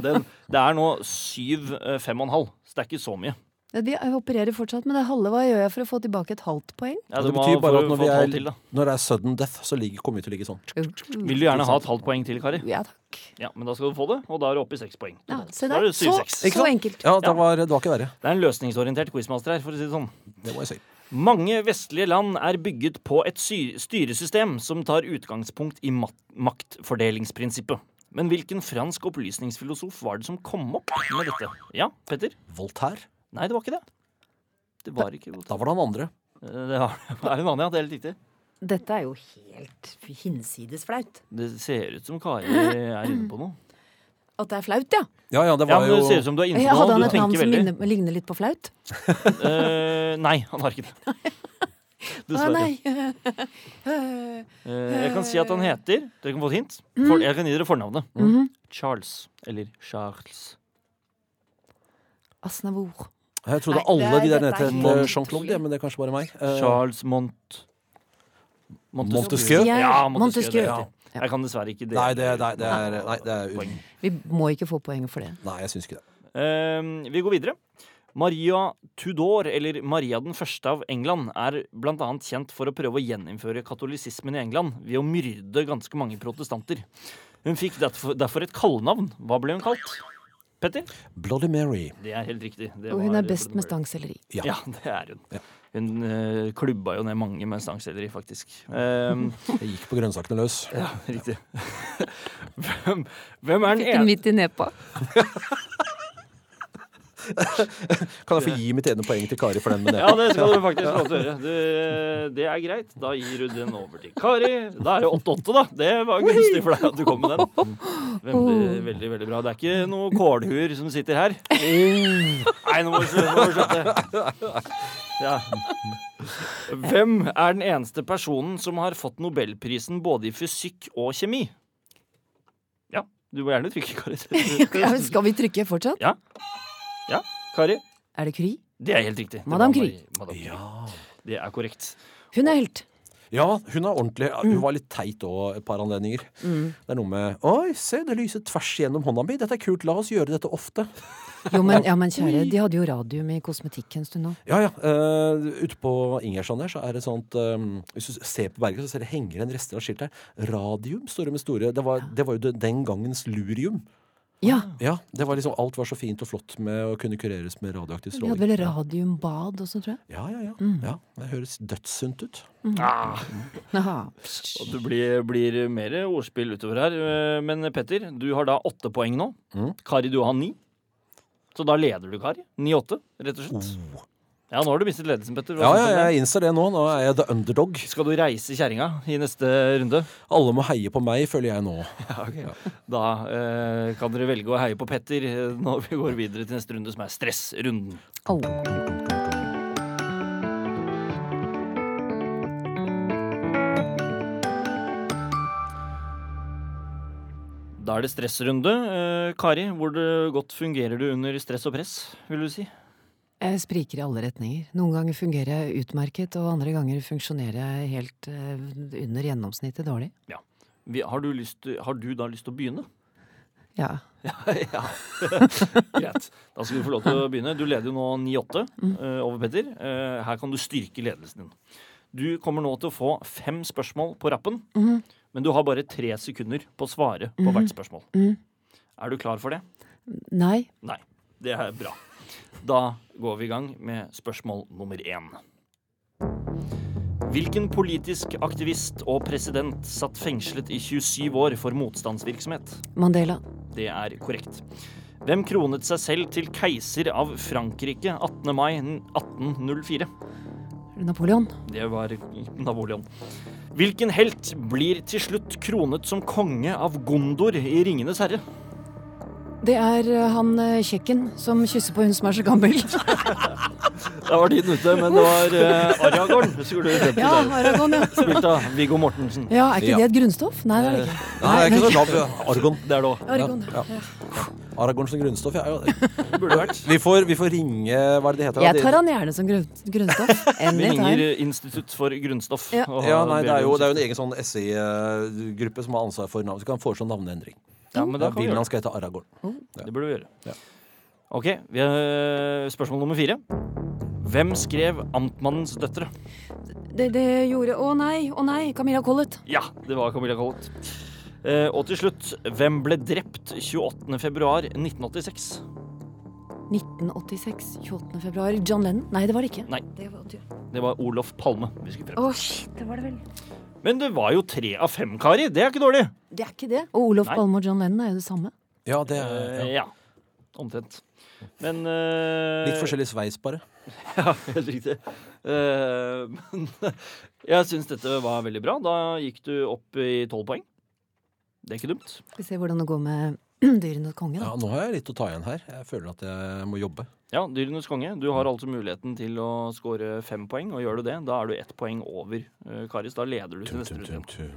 [SPEAKER 1] Den, det er nå syv, eh, fem og en halv. Så det er ikke så mye.
[SPEAKER 2] Ja, de opererer fortsatt med det halve. Hva gjør jeg for å få tilbake et halvt poeng?
[SPEAKER 1] Ja,
[SPEAKER 3] det
[SPEAKER 1] du må
[SPEAKER 3] betyr bare
[SPEAKER 1] få-
[SPEAKER 3] at når,
[SPEAKER 1] få et halvt
[SPEAKER 3] vi
[SPEAKER 1] til, da.
[SPEAKER 3] er, når det er sudden death, så ligger, kommer vi til å ligge sånn.
[SPEAKER 1] Vil du gjerne ha et halvt poeng til, Kari?
[SPEAKER 2] Ja takk.
[SPEAKER 1] Ja, men da skal du få det, og da er du oppe i seks poeng.
[SPEAKER 2] Ja, se
[SPEAKER 1] Da er
[SPEAKER 2] der.
[SPEAKER 1] det
[SPEAKER 2] Så,
[SPEAKER 1] 7-6.
[SPEAKER 2] så enkelt.
[SPEAKER 3] Ja, det var, det var ikke verre.
[SPEAKER 1] Det er en løsningsorientert quizmaster her, for å si det sånn.
[SPEAKER 3] Det må jeg si.
[SPEAKER 1] Mange vestlige land er bygget på et sy styresystem som tar utgangspunkt i mat maktfordelingsprinsippet. Men hvilken fransk opplysningsfilosof var det som kom opp med dette? Ja, Petter?
[SPEAKER 3] Voltaire.
[SPEAKER 1] Nei, det var ikke det. Det var ikke godt. Eh,
[SPEAKER 3] Da var det han andre.
[SPEAKER 1] Det var, er en vanlig, ja. Det er helt riktig.
[SPEAKER 2] Dette er jo helt hinsides flaut.
[SPEAKER 1] Det ser ut som Kari er inne på noe.
[SPEAKER 2] At det er flaut, ja.
[SPEAKER 3] Ja, ja, det
[SPEAKER 1] Ja,
[SPEAKER 3] var
[SPEAKER 1] men Det ser ut
[SPEAKER 3] jo
[SPEAKER 1] som du er inne
[SPEAKER 2] Jeg
[SPEAKER 1] på
[SPEAKER 2] hadde
[SPEAKER 1] noe.
[SPEAKER 2] han
[SPEAKER 1] Du
[SPEAKER 2] et navn
[SPEAKER 1] tenker
[SPEAKER 2] som
[SPEAKER 1] veldig.
[SPEAKER 2] ligner, ligner litt på flaut?
[SPEAKER 1] Eh, nei, han har ikke det.
[SPEAKER 2] Å
[SPEAKER 1] Dessverre.
[SPEAKER 2] nei.
[SPEAKER 1] Eh, Mhm. jeg kan si at han heter Dere kan få et hint. For, jeg kan gi dere fornavnet. Charles. Eller Charles.
[SPEAKER 2] Asnavor.
[SPEAKER 3] Jeg trodde
[SPEAKER 2] Nei,
[SPEAKER 3] alle
[SPEAKER 2] det er-
[SPEAKER 3] de der
[SPEAKER 2] dette
[SPEAKER 3] nede
[SPEAKER 2] er
[SPEAKER 3] het
[SPEAKER 2] helt
[SPEAKER 3] eh, Jean-Claude, ja, men det er kanskje bare meg. Eh,
[SPEAKER 1] Charles Mont...
[SPEAKER 3] Montesquieu?
[SPEAKER 1] Ja,
[SPEAKER 2] Montesquieu.
[SPEAKER 1] Montesquieu. det er riktig. Jeg kan dessverre ikke det.
[SPEAKER 3] Nei, det, nei, det er, nei, det er
[SPEAKER 1] Poeng.
[SPEAKER 2] Vi må ikke få poenget for det.
[SPEAKER 3] Nei, jeg syns ikke det.
[SPEAKER 1] Eh, vi går videre. Maria Tudor, eller Maria den første av England, er blant annet kjent for å prøve å gjeninnføre katolisismen i England ved å myrde ganske mange protestanter. Hun fikk derfor, derfor et kallenavn. Hva ble hun kalt? Petter?
[SPEAKER 3] Bloody Mary.
[SPEAKER 1] Det er helt riktig. Det
[SPEAKER 2] Og hun
[SPEAKER 1] var-
[SPEAKER 2] er best med stangselleri.
[SPEAKER 1] Ja, det er hun. Hun eh, klubba jo ned mange med stangselleri, faktisk. Ehm,
[SPEAKER 3] Jeg gikk på grønnsakene løs.
[SPEAKER 1] ja, riktig. hvem, hvem er den
[SPEAKER 2] Fikk den
[SPEAKER 1] ene
[SPEAKER 2] midt i nepa.
[SPEAKER 3] Kan jeg få gi mitt ene poeng til Kari for den med
[SPEAKER 1] Ja,
[SPEAKER 3] nepa?
[SPEAKER 1] det skal du faktisk få lov til å gjøre. Du, det er greit. Da gir du den over til Kari. Da er det 8-8, da. Det var gunstig for deg at du kom med den. Veldig, veldig veldig bra. Det er ikke noe kålhuer som sitter her. Nei, nå må du slutte. nå må du slutte. Ja. Hvem er den eneste personen som har fått nobelprisen både i fysikk og kjemi? Ja, du må gjerne trykke,
[SPEAKER 2] Ja,
[SPEAKER 1] Kari.
[SPEAKER 2] Skal vi trykke fortsatt?
[SPEAKER 1] Ja. Ja, Kari.
[SPEAKER 2] Er det Kry?
[SPEAKER 1] Det er helt riktig. Det
[SPEAKER 2] Madame
[SPEAKER 1] var
[SPEAKER 2] Curie.
[SPEAKER 1] Marie- Madame Curie.
[SPEAKER 3] Ja.
[SPEAKER 1] Det er korrekt.
[SPEAKER 2] Hun er helt.
[SPEAKER 3] ja, hun er ordentlig. ja, Hun var litt teit òg et par anledninger.
[SPEAKER 2] Mm.
[SPEAKER 3] Det er noe med Oi, se, det lyser tvers gjennom hånda mi. Dette er kult. La oss gjøre dette ofte.
[SPEAKER 2] Jo, men, ja, men kjære, de hadde jo radium i kosmetikk en stund nå.
[SPEAKER 3] Ja, ja. eh, ute på Ingerstrand der, så er det sånt eh, Hvis du ser på berget, så ser det henger en rester av skilt der. Radium står det med store Det var, det var jo det- den gangens lurium.
[SPEAKER 2] Ja,
[SPEAKER 3] Ja, det var liksom Alt var så fint og flott med å kunne kureres med radioaktiv
[SPEAKER 2] de hadde
[SPEAKER 3] stråling.
[SPEAKER 2] vel radiumbad også, tror jeg.
[SPEAKER 3] Ja, ja, ja.
[SPEAKER 2] Mm.
[SPEAKER 3] ja. Det høres dødssunt ut.
[SPEAKER 1] Ah,
[SPEAKER 2] Aha.
[SPEAKER 1] og det blir, blir mer ordspill utover her. Eh, Men Petter, du har da åtte poeng nå.
[SPEAKER 3] Mhm.
[SPEAKER 1] Kari, du har ni. Så da leder du, Kari. Ni-åtte, rett og slett. Ja, nå har du mistet ledelsen, Petter. Hva
[SPEAKER 3] Oh.
[SPEAKER 1] synes
[SPEAKER 3] Ja,
[SPEAKER 1] du om
[SPEAKER 3] ja,
[SPEAKER 1] det?
[SPEAKER 3] jeg innser det nå. Nå er jeg the underdog.
[SPEAKER 1] Skal du reise kjerringa i neste runde?
[SPEAKER 3] Alle må heie på meg, føler jeg nå.
[SPEAKER 1] Da eh, kan dere velge å heie på Petter eh, når vi går videre til neste runde, som er stressrunden.
[SPEAKER 2] Au.
[SPEAKER 1] Da er det stressrunde. Eh, Kari, hvor det godt fungerer du under stress og press, vil du si?
[SPEAKER 2] Jeg spriker i alle retninger. Noen ganger fungerer jeg utmerket, og andre ganger funksjonerer jeg helt eh, under gjennomsnittet dårlig.
[SPEAKER 1] Vi- Har du, lyst, har du da lyst til å begynne?
[SPEAKER 2] Ja.
[SPEAKER 1] ja. Greit. Da skal du få lov til å begynne. Du leder jo nå 9-8 eh, over Petter. Eh, her kan du styrke ledelsen din. Du kommer nå til å få fem spørsmål på rappen, men du har bare tre sekunder på å svare på hvert spørsmål.
[SPEAKER 2] Mhm.
[SPEAKER 1] Er du klar for det?
[SPEAKER 2] Nei.
[SPEAKER 1] Nei. Det er bra. Da går vi i gang med spørsmål nummer én. Hvilken politisk aktivist og president satt fengslet i 27 år for motstandsvirksomhet?
[SPEAKER 2] Mandela.
[SPEAKER 1] Det er korrekt. Hvem kronet seg selv til keiser av Frankrike 18. mai 1804?
[SPEAKER 2] Napoleon.
[SPEAKER 1] Det var Napoleon. Hvilken helt blir til slutt kronet som konge av Gondor i Ringenes herre?
[SPEAKER 2] Det er eh, han eh, kjekken som kysser på hun som er så gammel.
[SPEAKER 1] Da var tiden ute, men det var uh, Aragorn. Husker du det?
[SPEAKER 2] Ja, Aragon, ja.
[SPEAKER 1] Spilt av Viggo Mortensen.
[SPEAKER 2] Ja, Er ikke
[SPEAKER 3] Ja.
[SPEAKER 2] det et grunnstoff? Nei, det er det ikke.
[SPEAKER 3] Nei, det er ikke så lav. Argon.
[SPEAKER 1] Det er det òg.
[SPEAKER 2] Aragon, ja.
[SPEAKER 3] Aragorn som grunnstoff. Ja, ja.
[SPEAKER 1] Det burde vært.
[SPEAKER 3] Vi, får, vi får ringe Hva er det det heter?
[SPEAKER 2] Jeg tar han gjerne som grunn, grunnstoff.
[SPEAKER 1] Vi
[SPEAKER 2] Anytime.
[SPEAKER 1] ringer Institutt for grunnstoff.
[SPEAKER 2] Ja.
[SPEAKER 1] og
[SPEAKER 3] Ja, nei, det er jo,
[SPEAKER 1] ber om-
[SPEAKER 3] det er jo en egen sånn SI-gruppe som har ansvar for navn. Så kan foreslå navneendring.
[SPEAKER 1] ja, men da
[SPEAKER 3] Ja,
[SPEAKER 1] kan vi
[SPEAKER 3] bilen
[SPEAKER 1] gjøre
[SPEAKER 3] hans skal hete Aragorn.
[SPEAKER 1] det. Det burde vi gjøre.
[SPEAKER 3] Ja.
[SPEAKER 1] OK, vi har eh, spørsmål nummer fire. Hvem skrev 'Amtmannens døtre'?
[SPEAKER 2] Det, det gjorde Å nei, å nei, Camilla Collett.
[SPEAKER 1] Ja, det var Camilla Collett. Eh, og til slutt, hvem ble drept 28.2.1986?
[SPEAKER 2] 1986, 28. februar. John Lennon? Nei, det var det ikke.
[SPEAKER 1] Nei.
[SPEAKER 2] Det var dyrt.
[SPEAKER 1] Det var Olof Palme. vi skulle frem
[SPEAKER 2] Å,
[SPEAKER 1] til.
[SPEAKER 2] shit, det var det vel.
[SPEAKER 1] Men det var jo tre av fem, Kari. Det er ikke dårlig.
[SPEAKER 2] Det er ikke det. Og Olof
[SPEAKER 1] Nei.
[SPEAKER 2] Palme og John Lennon er jo det samme.
[SPEAKER 3] Ja, det er
[SPEAKER 1] Eh,
[SPEAKER 3] ja.
[SPEAKER 1] ja. Omtrent. Men eh,
[SPEAKER 3] Litt forskjellig sveis, bare.
[SPEAKER 1] Ja, helt riktig. Eh, men jeg syns dette var veldig bra. Da gikk du opp i tolv poeng. Det er ikke dumt.
[SPEAKER 2] Skal vi se hvordan det går med Dyrenes konge, da.
[SPEAKER 3] Ja, nå har jeg litt å ta igjen her. Jeg føler at jeg må jobbe.
[SPEAKER 1] Ja, Dyrenes konge. Du har altså muligheten til å score fem poeng, og gjør du det, da er du ett poeng over eh, Karis. Da leder du til neste runde.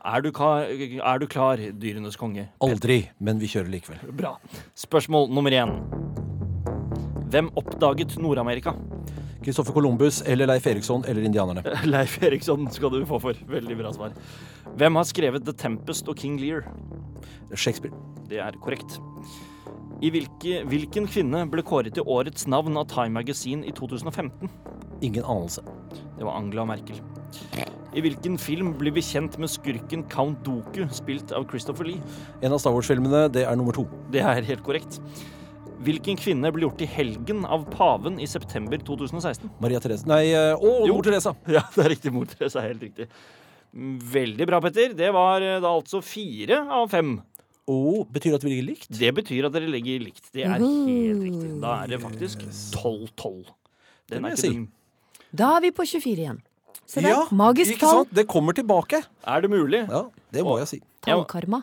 [SPEAKER 1] Er, du ka- er du klar, Dyrenes konge?
[SPEAKER 3] Aldri, men vi kjører likevel.
[SPEAKER 1] Bra. Spørsmål nummer én. Hvem oppdaget Nord-Amerika?
[SPEAKER 3] Kristoffer Columbus eller Leif Eriksson eller indianerne.
[SPEAKER 1] Leif Eriksson skal du få for. Veldig bra svar. Hvem har skrevet The Tempest og King Lear?
[SPEAKER 3] Shakespeare.
[SPEAKER 1] Det er korrekt. I hvilke, hvilken kvinne ble kåret til årets navn av Time Magazine i 2015?
[SPEAKER 3] Ingen anelse.
[SPEAKER 1] Det var Angela Merkel. I hvilken film blir vi kjent med skurken Count Doku, spilt av Christopher Lee?
[SPEAKER 3] En av Star Wars-filmene, det er nummer to.
[SPEAKER 1] Det er helt korrekt. Hvilken kvinne ble gjort til helgen av paven i september 2016?
[SPEAKER 3] Maria Therese Nei, eh, å,
[SPEAKER 1] Jo.
[SPEAKER 3] mor Teresa!
[SPEAKER 1] Ja, det er riktig. Mor Therese er helt riktig. Veldig bra, Petter. Det var eh, da altså fire av fem.
[SPEAKER 3] Å, betyr det at vi ligger likt?
[SPEAKER 1] Det betyr at dere legger likt. Det er helt riktig. Da er det faktisk 12-12. Den
[SPEAKER 3] må
[SPEAKER 1] er
[SPEAKER 3] jeg
[SPEAKER 1] ikke
[SPEAKER 3] si.
[SPEAKER 1] dum.
[SPEAKER 2] Da er vi på 24 igjen. Se der. Magisk
[SPEAKER 3] ikke
[SPEAKER 2] tall.
[SPEAKER 3] sant? Det kommer tilbake.
[SPEAKER 1] Er det mulig?
[SPEAKER 3] Ja, det må jeg si.
[SPEAKER 2] Tallkarma.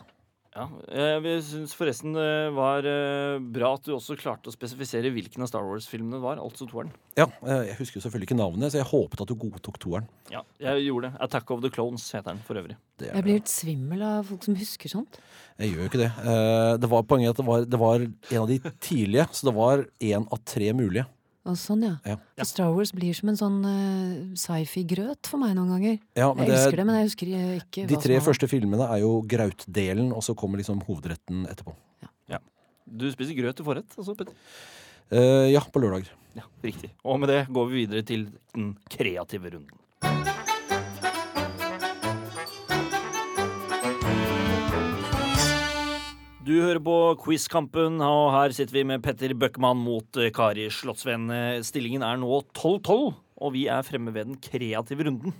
[SPEAKER 1] Ja, eh, Jeg syns forresten det var eh, bra at du også klarte å spesifisere hvilken av Star Wars-filmene det var, altså toeren.
[SPEAKER 3] Ja, eh, Jeg husker jo selvfølgelig ikke navnet, så jeg håpet at du godtok toeren.
[SPEAKER 1] Ja, jeg gjorde det. Attack of the Clones heter den for øvrig.
[SPEAKER 3] Det
[SPEAKER 2] Jeg blir helt svimmel av folk som husker sånt.
[SPEAKER 3] Jeg gjør jo ikke det. Eh, Det var poenget at det var, det var en av de tidlige, så det var én av tre mulige.
[SPEAKER 2] Og sånn, ja.
[SPEAKER 3] Ja.
[SPEAKER 2] For Star Wars blir som en sånn eh, sci-fi-grøt for meg noen ganger.
[SPEAKER 3] Ja, men
[SPEAKER 2] Jeg
[SPEAKER 3] det-
[SPEAKER 2] elsker det, men jeg husker eh, ikke
[SPEAKER 3] De
[SPEAKER 2] hva
[SPEAKER 3] tre
[SPEAKER 2] som var-
[SPEAKER 3] første filmene er jo grautdelen, og så kommer liksom hovedretten etterpå.
[SPEAKER 1] Du spiser grøt til forrett, altså, Petter?
[SPEAKER 3] Eh, ja, på lørdager.
[SPEAKER 1] Ja, riktig. Og med det går vi videre til den kreative runden. Du hører på Quizkampen, og her sitter vi med Petter Bøckmann mot eh, Kari Slottsveen. Eh, Stillingen er nå 12-12, og vi er fremme ved den kreative runden.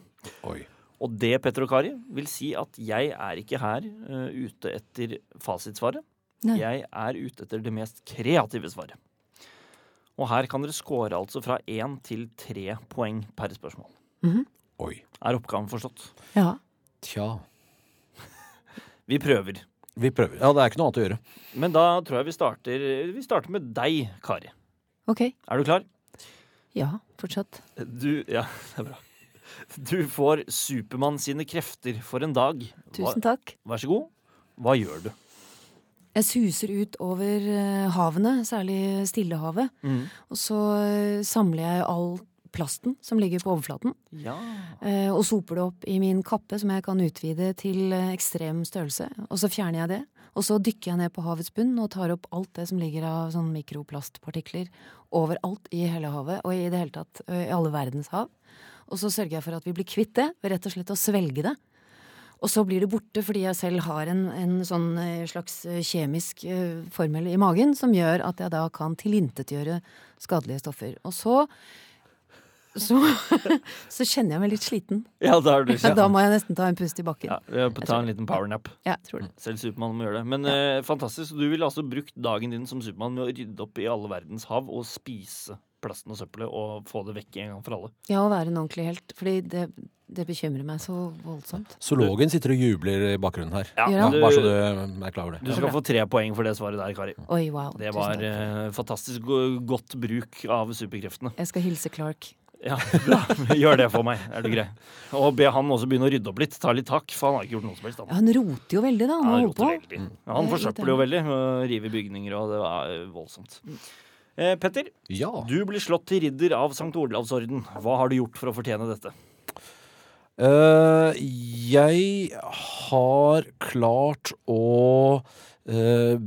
[SPEAKER 3] Oi.
[SPEAKER 1] Og det, Petter og Kari, vil si at jeg er ikke her eh, ute etter fasitsvaret.
[SPEAKER 2] Nei.
[SPEAKER 1] Jeg er ute etter det mest kreative svaret. Og her kan dere score altså fra én til tre poeng per spørsmål.
[SPEAKER 3] Oi.
[SPEAKER 1] Er oppgaven forstått?
[SPEAKER 2] Ja.
[SPEAKER 3] Tja.
[SPEAKER 1] Vi prøver.
[SPEAKER 3] Vi prøver. Ja, det er ikke noe annet å gjøre.
[SPEAKER 1] Men da tror jeg vi starter Vi starter med deg, Kari.
[SPEAKER 2] Ok.
[SPEAKER 1] Er du klar?
[SPEAKER 2] Ja, fortsatt.
[SPEAKER 1] Du Ja, det er bra. Du får Supermann sine krefter for en dag.
[SPEAKER 2] Tusen
[SPEAKER 1] Hva,
[SPEAKER 2] takk.
[SPEAKER 1] vær så god. Hva gjør du?
[SPEAKER 2] Jeg suser ut over eh, havene, særlig Stillehavet. Og så eh, samler jeg all plasten som ligger på overflaten,
[SPEAKER 1] Ja.
[SPEAKER 2] eh, og soper det opp i min kappe, som jeg kan utvide til eh, ekstrem størrelse. Og så fjerner jeg det. Og så dykker jeg ned på havets bunn og tar opp alt det som ligger av sånn mikroplastpartikler overalt i hele havet, og i det hele tatt eh, i alle verdens hav. Og så sørger jeg for at vi blir kvitt det, ved rett og slett å svelge det. Og så blir det borte fordi jeg selv har en, en sånn eh, slags eh, kjemisk eh, formel i magen som gjør at jeg da kan tilintetgjøre skadelige stoffer. Og så så, så kjenner jeg meg litt sliten.
[SPEAKER 1] ja, da er du
[SPEAKER 2] Ja, da må jeg nesten ta en pust i bakken.
[SPEAKER 1] ja, vi er på- Ta en liten powernap.
[SPEAKER 2] Ja, jeg tror det.
[SPEAKER 1] Selv Supermann må gjøre det. Men eh, fantastisk. Du ville altså brukt dagen din som Supermann med å rydde opp i alle verdens hav og spise plasten og søppelet og få det vekk en gang for alle.
[SPEAKER 2] Ja, å være en ordentlig helt. Fordi det, det bekymrer meg så voldsomt.
[SPEAKER 3] Zoologen sitter og jubler i bakgrunnen her.
[SPEAKER 1] Ja,
[SPEAKER 2] Ja.
[SPEAKER 1] du-
[SPEAKER 3] Bare så du er klar over det.
[SPEAKER 1] Du skal få tre poeng for det svaret der, Kari.
[SPEAKER 2] Oi, wow.
[SPEAKER 1] Det
[SPEAKER 2] tusen
[SPEAKER 1] var
[SPEAKER 2] takk.
[SPEAKER 1] eh, fantastisk go- godt bruk av superkreftene.
[SPEAKER 2] Jeg skal hilse Clark.
[SPEAKER 1] Ja, bra. Gjør det for meg, er du grei. Og be han også begynne å rydde opp litt. Ta litt tak, for han har ikke gjort noe som helst.
[SPEAKER 2] Ja,
[SPEAKER 1] Han,
[SPEAKER 2] han roter jo veldig, da. Han
[SPEAKER 1] han,
[SPEAKER 2] holder
[SPEAKER 1] roter
[SPEAKER 2] på.
[SPEAKER 1] veldig. Ja, han
[SPEAKER 2] Det er litt
[SPEAKER 1] forsøpler jo veldig. og River bygninger, og det er voldsomt. Eh, Petter,
[SPEAKER 3] Ja.
[SPEAKER 1] du blir slått til ridder av St. Olavsorden. Hva har du gjort for å fortjene dette?
[SPEAKER 3] Eh, jeg har klart å eh,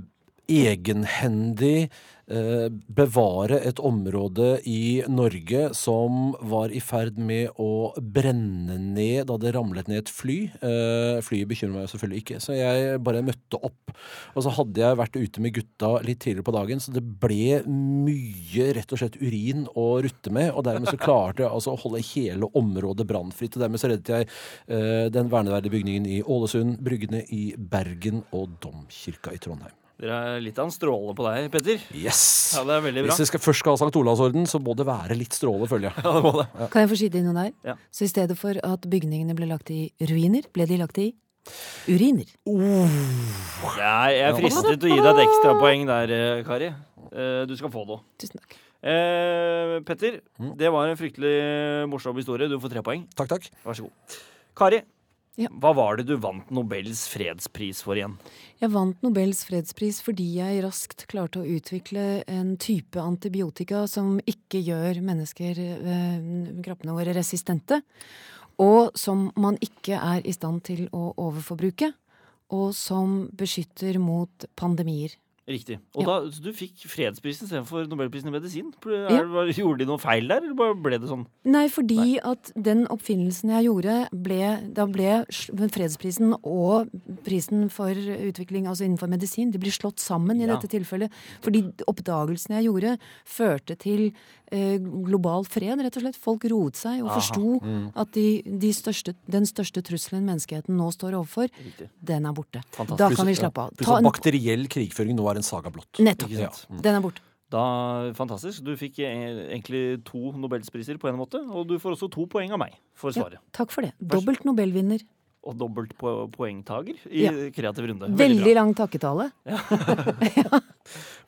[SPEAKER 3] egenhendig eh, bevare et område i Norge som var i ferd med å brenne ned da det ramlet ned et fly. Eh, flyet bekymrer meg jo selvfølgelig ikke, så jeg bare møtte opp. Og så hadde jeg vært ute med gutta litt tidligere på dagen, så det ble mye rett og slett urin å rutte med, og dermed så klarte jeg altså å holde hele området brannfritt. Og dermed så reddet jeg eh, den verneverdige bygningen i Ålesund, bryggene i Bergen og domkirka i Trondheim.
[SPEAKER 1] Dere er litt av en stråle på deg, Petter.
[SPEAKER 3] Yes!
[SPEAKER 1] Ja, det er veldig bra.
[SPEAKER 3] Hvis vi skal, først skal ha Sankt Olavsorden, så må det være litt stråle, føler jeg.
[SPEAKER 1] Ja, det må det.
[SPEAKER 2] Kan jeg få skyte inn noe der?
[SPEAKER 1] Ja.
[SPEAKER 2] Så i stedet for at bygningene ble lagt i ruiner, ble de lagt i uriner.
[SPEAKER 3] Oh,
[SPEAKER 1] Nei, jeg er fristet til å gi deg et ekstrapoeng der, eh, Kari. Eh, Du skal få det òg.
[SPEAKER 2] Tusen takk.
[SPEAKER 1] Eh, Petter, det var en fryktelig morsom historie. Du får tre poeng.
[SPEAKER 3] Takk, takk.
[SPEAKER 1] Vær så god. Kari,
[SPEAKER 2] Ja.
[SPEAKER 1] hva var det du vant Nobels fredspris for igjen?
[SPEAKER 2] Jeg vant Nobels fredspris fordi jeg raskt klarte å utvikle en type antibiotika som ikke gjør mennesker, eh, kroppene våre, resistente. Og som man ikke er i stand til å overforbruke. Og som beskytter mot pandemier.
[SPEAKER 1] Riktig. Og
[SPEAKER 2] Ja.
[SPEAKER 1] da, så du fikk fredsprisen istedenfor Nobelprisen i medisin? Ble-
[SPEAKER 2] Ja.
[SPEAKER 1] Er, var- Gjorde de noe feil der, eller bare ble det sånn?
[SPEAKER 2] Nei, fordi at den oppfinnelsen jeg gjorde, ble, da ble sl- fredsprisen og prisen for utvikling altså innenfor medisin, de blir slått sammen i
[SPEAKER 1] Ja.
[SPEAKER 2] dette tilfellet. Fordi oppdagelsen jeg gjorde, førte til eh, global fred, rett og slett. Folk roet seg og
[SPEAKER 1] Aha. Mm.
[SPEAKER 2] forsto at de, de største, den største trusselen menneskeheten nå står overfor,
[SPEAKER 1] Riktig.
[SPEAKER 2] den er borte.
[SPEAKER 1] Fantastisk.
[SPEAKER 2] Da kan vi slappe av.
[SPEAKER 3] Pluss
[SPEAKER 2] Ta
[SPEAKER 3] at
[SPEAKER 2] en,
[SPEAKER 3] bakteriell krigføring nå er en saga blått.
[SPEAKER 2] nettopp.
[SPEAKER 1] Ikke sant?
[SPEAKER 2] Den er borte.
[SPEAKER 1] Da, fantastisk. Du fikk eh, egentlig to nobelspriser på en måte, og du får også to poeng av meg for
[SPEAKER 2] Ja,
[SPEAKER 1] svaret.
[SPEAKER 2] takk for det. Dobbelt nobelvinner.
[SPEAKER 1] Og dobbelt po poengtager i
[SPEAKER 2] Ja.
[SPEAKER 1] kreativ runde.
[SPEAKER 2] Veldig lang takketale.
[SPEAKER 1] bra.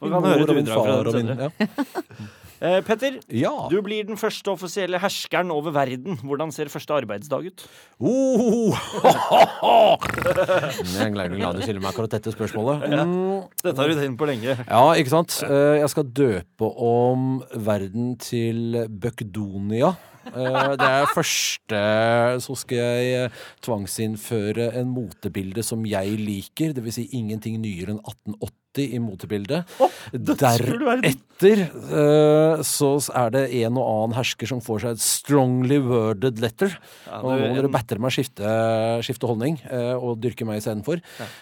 [SPEAKER 1] Man kan høre et
[SPEAKER 3] Mor og min
[SPEAKER 1] utdrag fra
[SPEAKER 3] far
[SPEAKER 1] den
[SPEAKER 3] og min-
[SPEAKER 1] senere. Eh, Petter,
[SPEAKER 3] Ja. ja.
[SPEAKER 1] du blir den første offisielle herskeren over verden. Hvordan ser første arbeidsdag ut?
[SPEAKER 3] Oh, ho, ho, ho. Jeg er glad glad du stiller meg akkurat dette spørsmålet. Mm,
[SPEAKER 1] Dette har du tenkt på lenge.
[SPEAKER 3] ja, ikke sant? Eh, Jeg skal døpe om verden til Bøkdonia. Eh, Det er første Så skal jeg eh, tvangsinnføre en motebilde som jeg liker. Dvs. Si ingenting nyere enn 1880 i motebildet.
[SPEAKER 1] dødsfull verden.
[SPEAKER 3] Deretter eh, så er det en og annen hersker som får seg et strongly worded letter.
[SPEAKER 1] Ja,
[SPEAKER 3] Og nå
[SPEAKER 1] du,
[SPEAKER 3] må
[SPEAKER 1] en-
[SPEAKER 3] dere batter meg skifte, skifte holdning eh, og dyrke meg istedenfor.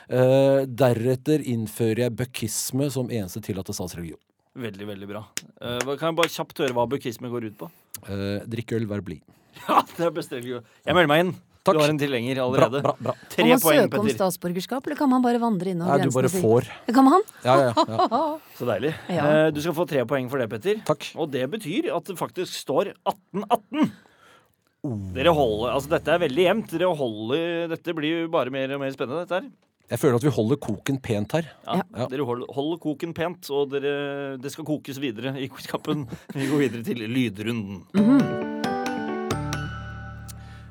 [SPEAKER 3] Eh, deretter innfører jeg bøkkisme som eneste tillatte statsreligion.
[SPEAKER 1] Veldig, veldig bra. Eh, hva- kan jeg bare kjapt høre hva bukisme går ut på?
[SPEAKER 3] Eh, drikk øl, vær blid.
[SPEAKER 1] Ja, det er bestemt jo. Jeg melder meg inn.
[SPEAKER 3] Takk.
[SPEAKER 1] Du har en tilhenger
[SPEAKER 3] Bra,
[SPEAKER 1] allerede.
[SPEAKER 3] bra, bra.
[SPEAKER 1] Tre
[SPEAKER 2] Kan man
[SPEAKER 1] poeng,
[SPEAKER 2] søke om
[SPEAKER 1] Petter.
[SPEAKER 2] statsborgerskap, eller kan man bare vandre innom
[SPEAKER 3] Nei, du bare
[SPEAKER 2] sin?
[SPEAKER 3] får.
[SPEAKER 2] Kan man?
[SPEAKER 3] Ja, ja, ja.
[SPEAKER 1] Så deilig.
[SPEAKER 2] Ja.
[SPEAKER 1] Eh, du skal få tre poeng for det, Petter.
[SPEAKER 3] Takk.
[SPEAKER 1] Og det betyr at det faktisk står 1818. Dere holder, altså Dette er veldig jevnt. Dere holder, Dette blir jo bare mer og mer spennende. dette her.
[SPEAKER 3] Jeg føler at vi holder koken pent her.
[SPEAKER 1] Ja.
[SPEAKER 3] Ja.
[SPEAKER 1] Dere holder, holder koken pent, og dere, det skal kokes videre i quizkampen. Vi går videre til lydrunden.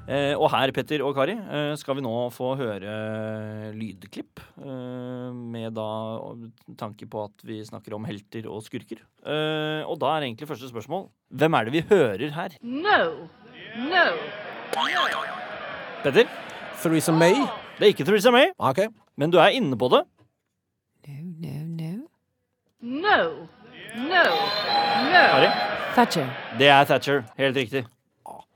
[SPEAKER 1] Eh, og her, Petter og Kari, eh, skal vi nå få høre lydklipp. Eh, med da tanke på at vi snakker om helter og skurker. Eh, og da er egentlig første spørsmål Hvem er det vi hører her?
[SPEAKER 4] No. No.
[SPEAKER 1] Petter,
[SPEAKER 3] Theresa May.
[SPEAKER 1] det er ikke Theresa May,
[SPEAKER 3] Ah, Ok.
[SPEAKER 1] men du er inne på det.
[SPEAKER 2] No, no, no.
[SPEAKER 4] No. No. No.
[SPEAKER 1] Kari,
[SPEAKER 2] Thatcher.
[SPEAKER 1] det er Thatcher. Helt riktig.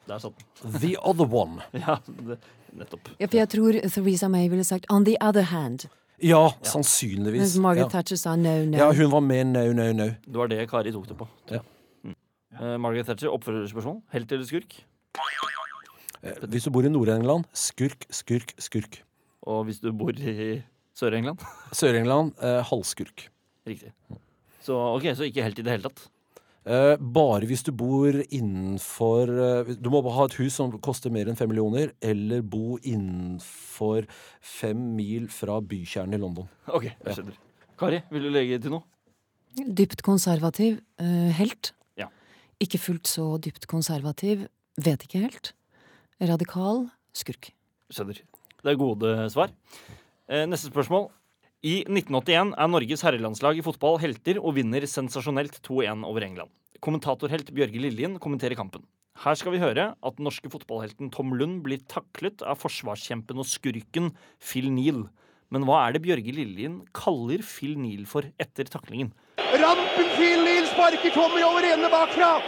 [SPEAKER 1] Der satt den.
[SPEAKER 3] The Other One.
[SPEAKER 1] Ja, det, nettopp.
[SPEAKER 2] Ja, for jeg tror Theresa May ville sagt 'on the other hand',
[SPEAKER 3] Ja,
[SPEAKER 2] mens
[SPEAKER 3] sannsynligvis.
[SPEAKER 2] Margaret
[SPEAKER 3] ja.
[SPEAKER 2] Thatcher sa 'no, no'.
[SPEAKER 3] ja, hun var med no, no, no.
[SPEAKER 1] Det var det Kari tok det på.
[SPEAKER 3] Ja.
[SPEAKER 1] Mm. Eh, Margaret Thatcher, oppfølgerspørsmål. Helt eller skurk?
[SPEAKER 3] Eh, Hvis du bor i Nord-England, skurk, skurk, skurk.
[SPEAKER 1] Og hvis du bor i Sør-England?
[SPEAKER 3] Sør-England, eh, halvskurk.
[SPEAKER 1] Riktig. Så ok, så ikke helt i det hele tatt.
[SPEAKER 3] Eh, bare hvis du bor innenfor eh, Du må ha et hus som koster mer enn fem millioner, eller bo innenfor fem mil fra bykjernen i London.
[SPEAKER 1] Ok, jeg skjønner. Kari, vil du legge til noe?
[SPEAKER 2] Dypt konservativ eh, helt.
[SPEAKER 1] Ja.
[SPEAKER 2] Ikke fullt så dypt konservativ. Vet ikke helt. Radikal skurk.
[SPEAKER 1] Skjønner. Det er gode svar. Eh, neste spørsmål. I 1981 er Norges herrelandslag i fotball helter og vinner sensasjonelt 2-1 over England. Kommentatorhelt Bjørge Lillien kommenterer kampen. Her skal vi høre at den norske fotballhelten Tom Lund blir taklet av forsvarskjempen og skurken Phil Neal. Men hva er det Bjørge Lillien kaller Phil Neal for etter taklingen?
[SPEAKER 5] Rampen til Lill sparker Tommy over ende bakfra.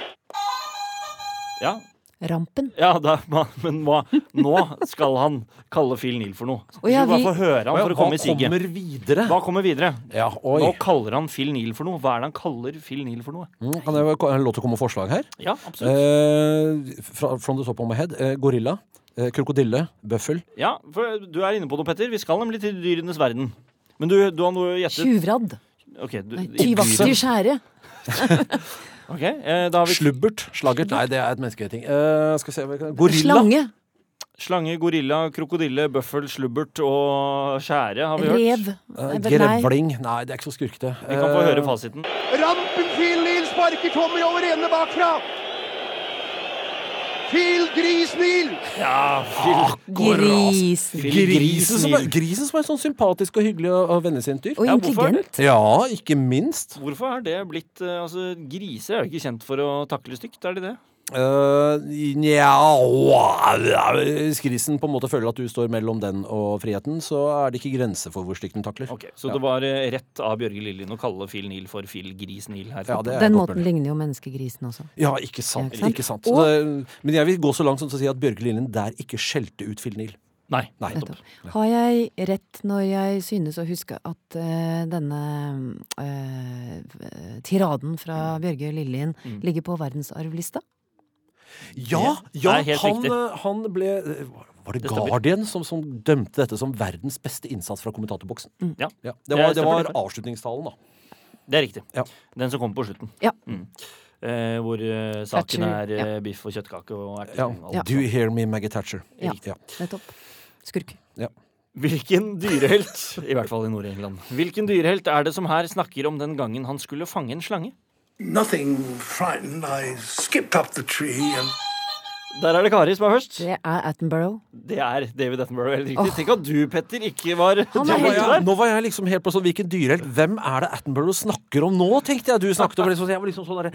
[SPEAKER 1] Ja,
[SPEAKER 2] Rampen.
[SPEAKER 1] Ja, da, ma- men hva, nå skal han kalle Phil Neal for noe.
[SPEAKER 2] Å ja,
[SPEAKER 1] vi skal
[SPEAKER 2] vi-
[SPEAKER 1] bare få høre han for å komme i
[SPEAKER 3] Hva
[SPEAKER 1] siget.
[SPEAKER 3] kommer videre?
[SPEAKER 1] Hva kommer videre?
[SPEAKER 3] Ja, oi.
[SPEAKER 1] Nå kaller han Phil Neal for noe. Hva er det han kaller Phil Neal for noe?
[SPEAKER 3] Mm, Kan jeg ha lov til å komme med forslag her?
[SPEAKER 1] Ja, absolutt.
[SPEAKER 3] Eh, fra, from the top of my head. Eh, gorilla. Eh, krokodille. Bøffel.
[SPEAKER 1] Ja, for du er inne på noe, Petter. Vi skal nemlig til dyrenes verden. Men du, du har noe gjettet?
[SPEAKER 2] Tjuvradd.
[SPEAKER 1] Ok, du,
[SPEAKER 2] Nei, Tyvaktig skjære.
[SPEAKER 1] ok, eh, da har vi
[SPEAKER 3] Slubbert. Slaggert. Nei, det er et mennesketing. Eh, skal vi se hva jeg kan- Gorilla.
[SPEAKER 2] Slange.
[SPEAKER 1] slange, gorilla, krokodille, bøffel, slubbert og skjære, har vi hørt.
[SPEAKER 2] Rev.
[SPEAKER 3] Eh,
[SPEAKER 2] Nei, vet- nei.
[SPEAKER 3] grevling. Nei, det er ikke så skurkete. Eh,
[SPEAKER 1] Vi kan få høre fasiten.
[SPEAKER 5] Rampen til Lill sparker Tommy over ende bakfra. Til Gris Lill.
[SPEAKER 1] Ja,
[SPEAKER 3] ah,
[SPEAKER 1] Phil.
[SPEAKER 2] Gris.
[SPEAKER 1] Phil
[SPEAKER 3] Grisen som, er,
[SPEAKER 1] Neal.
[SPEAKER 3] grisen som er sånn sympatisk og hyggelig og, og vennligsinnt dyr.
[SPEAKER 2] Og
[SPEAKER 1] Ja, hvorfor?
[SPEAKER 2] intelligent.
[SPEAKER 3] Ja, ikke minst.
[SPEAKER 1] Hvorfor er det blitt eh, Altså, griser er jo ikke kjent for å takle stygt, er de det?
[SPEAKER 3] Eh, Nja wow. Hvis grisen på en måte føler at du står mellom den og friheten, så er det ikke grenser for hvor stygt den takler.
[SPEAKER 1] Ok, Så det var eh, rett av Bjørge Lillien å kalle Phil Neal for Phil Gris Neal her.
[SPEAKER 3] Ja, det er
[SPEAKER 2] Den
[SPEAKER 3] godt
[SPEAKER 2] måten ligner jo menneskegrisen også.
[SPEAKER 3] Ja, ikke sant.
[SPEAKER 2] Ja,
[SPEAKER 3] Ikke
[SPEAKER 2] ikke
[SPEAKER 3] sant.
[SPEAKER 2] sant?
[SPEAKER 3] Så det, men jeg vil gå så langt som til å si at Bjørge Lillen der ikke skjelte ut Phil Neal.
[SPEAKER 1] Nei.
[SPEAKER 3] Nei.
[SPEAKER 2] Nettopp. Har jeg rett når jeg synes å huske at eh, denne eh, eh, tiraden fra Bjørge Lillien ligger på verdensarvlista?
[SPEAKER 3] Ja, ja
[SPEAKER 1] Det er helt
[SPEAKER 3] han,
[SPEAKER 1] riktig.
[SPEAKER 3] eh, han ble eh, Var det
[SPEAKER 1] Det stemmer.
[SPEAKER 3] Guardian som, som dømte dette som verdens beste innsats fra kommentatorboksen?
[SPEAKER 1] Ja,
[SPEAKER 3] Ja, det var,
[SPEAKER 1] Det
[SPEAKER 3] det
[SPEAKER 1] stemmer,
[SPEAKER 3] var
[SPEAKER 1] det
[SPEAKER 3] avslutningstalen, da.
[SPEAKER 1] det er riktig.
[SPEAKER 3] Ja.
[SPEAKER 1] Den som kommer på slutten.
[SPEAKER 2] Ja.
[SPEAKER 1] Mm. Eh, hvor eh, saken
[SPEAKER 2] Thatcher,
[SPEAKER 1] er eh, biff og kjøttkake og
[SPEAKER 3] Ja.
[SPEAKER 1] erter.
[SPEAKER 2] Ja.
[SPEAKER 3] Do you hear me, Maggie Thatcher?
[SPEAKER 2] Ja.
[SPEAKER 3] Ja.
[SPEAKER 2] Nettopp. Skurk.
[SPEAKER 1] Hvilken dyrehelt, i hvert fall i Nord-England, hvilken dyrehelt er det som her snakker om den gangen han skulle fange en slange?
[SPEAKER 6] Nothing frightened. I skipped up the tree and
[SPEAKER 1] Der er det Kari som er først.
[SPEAKER 2] Det er Attenborough.
[SPEAKER 1] Det er David Attenborough. helt riktig. Tenk at du, Petter, ikke var
[SPEAKER 2] Han
[SPEAKER 1] du
[SPEAKER 2] er
[SPEAKER 1] var
[SPEAKER 3] Nå
[SPEAKER 2] helt
[SPEAKER 3] var
[SPEAKER 1] ikke
[SPEAKER 3] jeg,
[SPEAKER 1] der.
[SPEAKER 3] nå var jeg liksom helt på sånn Hvilken dyrehelt? Hvem er det Attenborough snakker om nå? tenkte jeg du snakket om. Liksom, så jeg var liksom sånn derre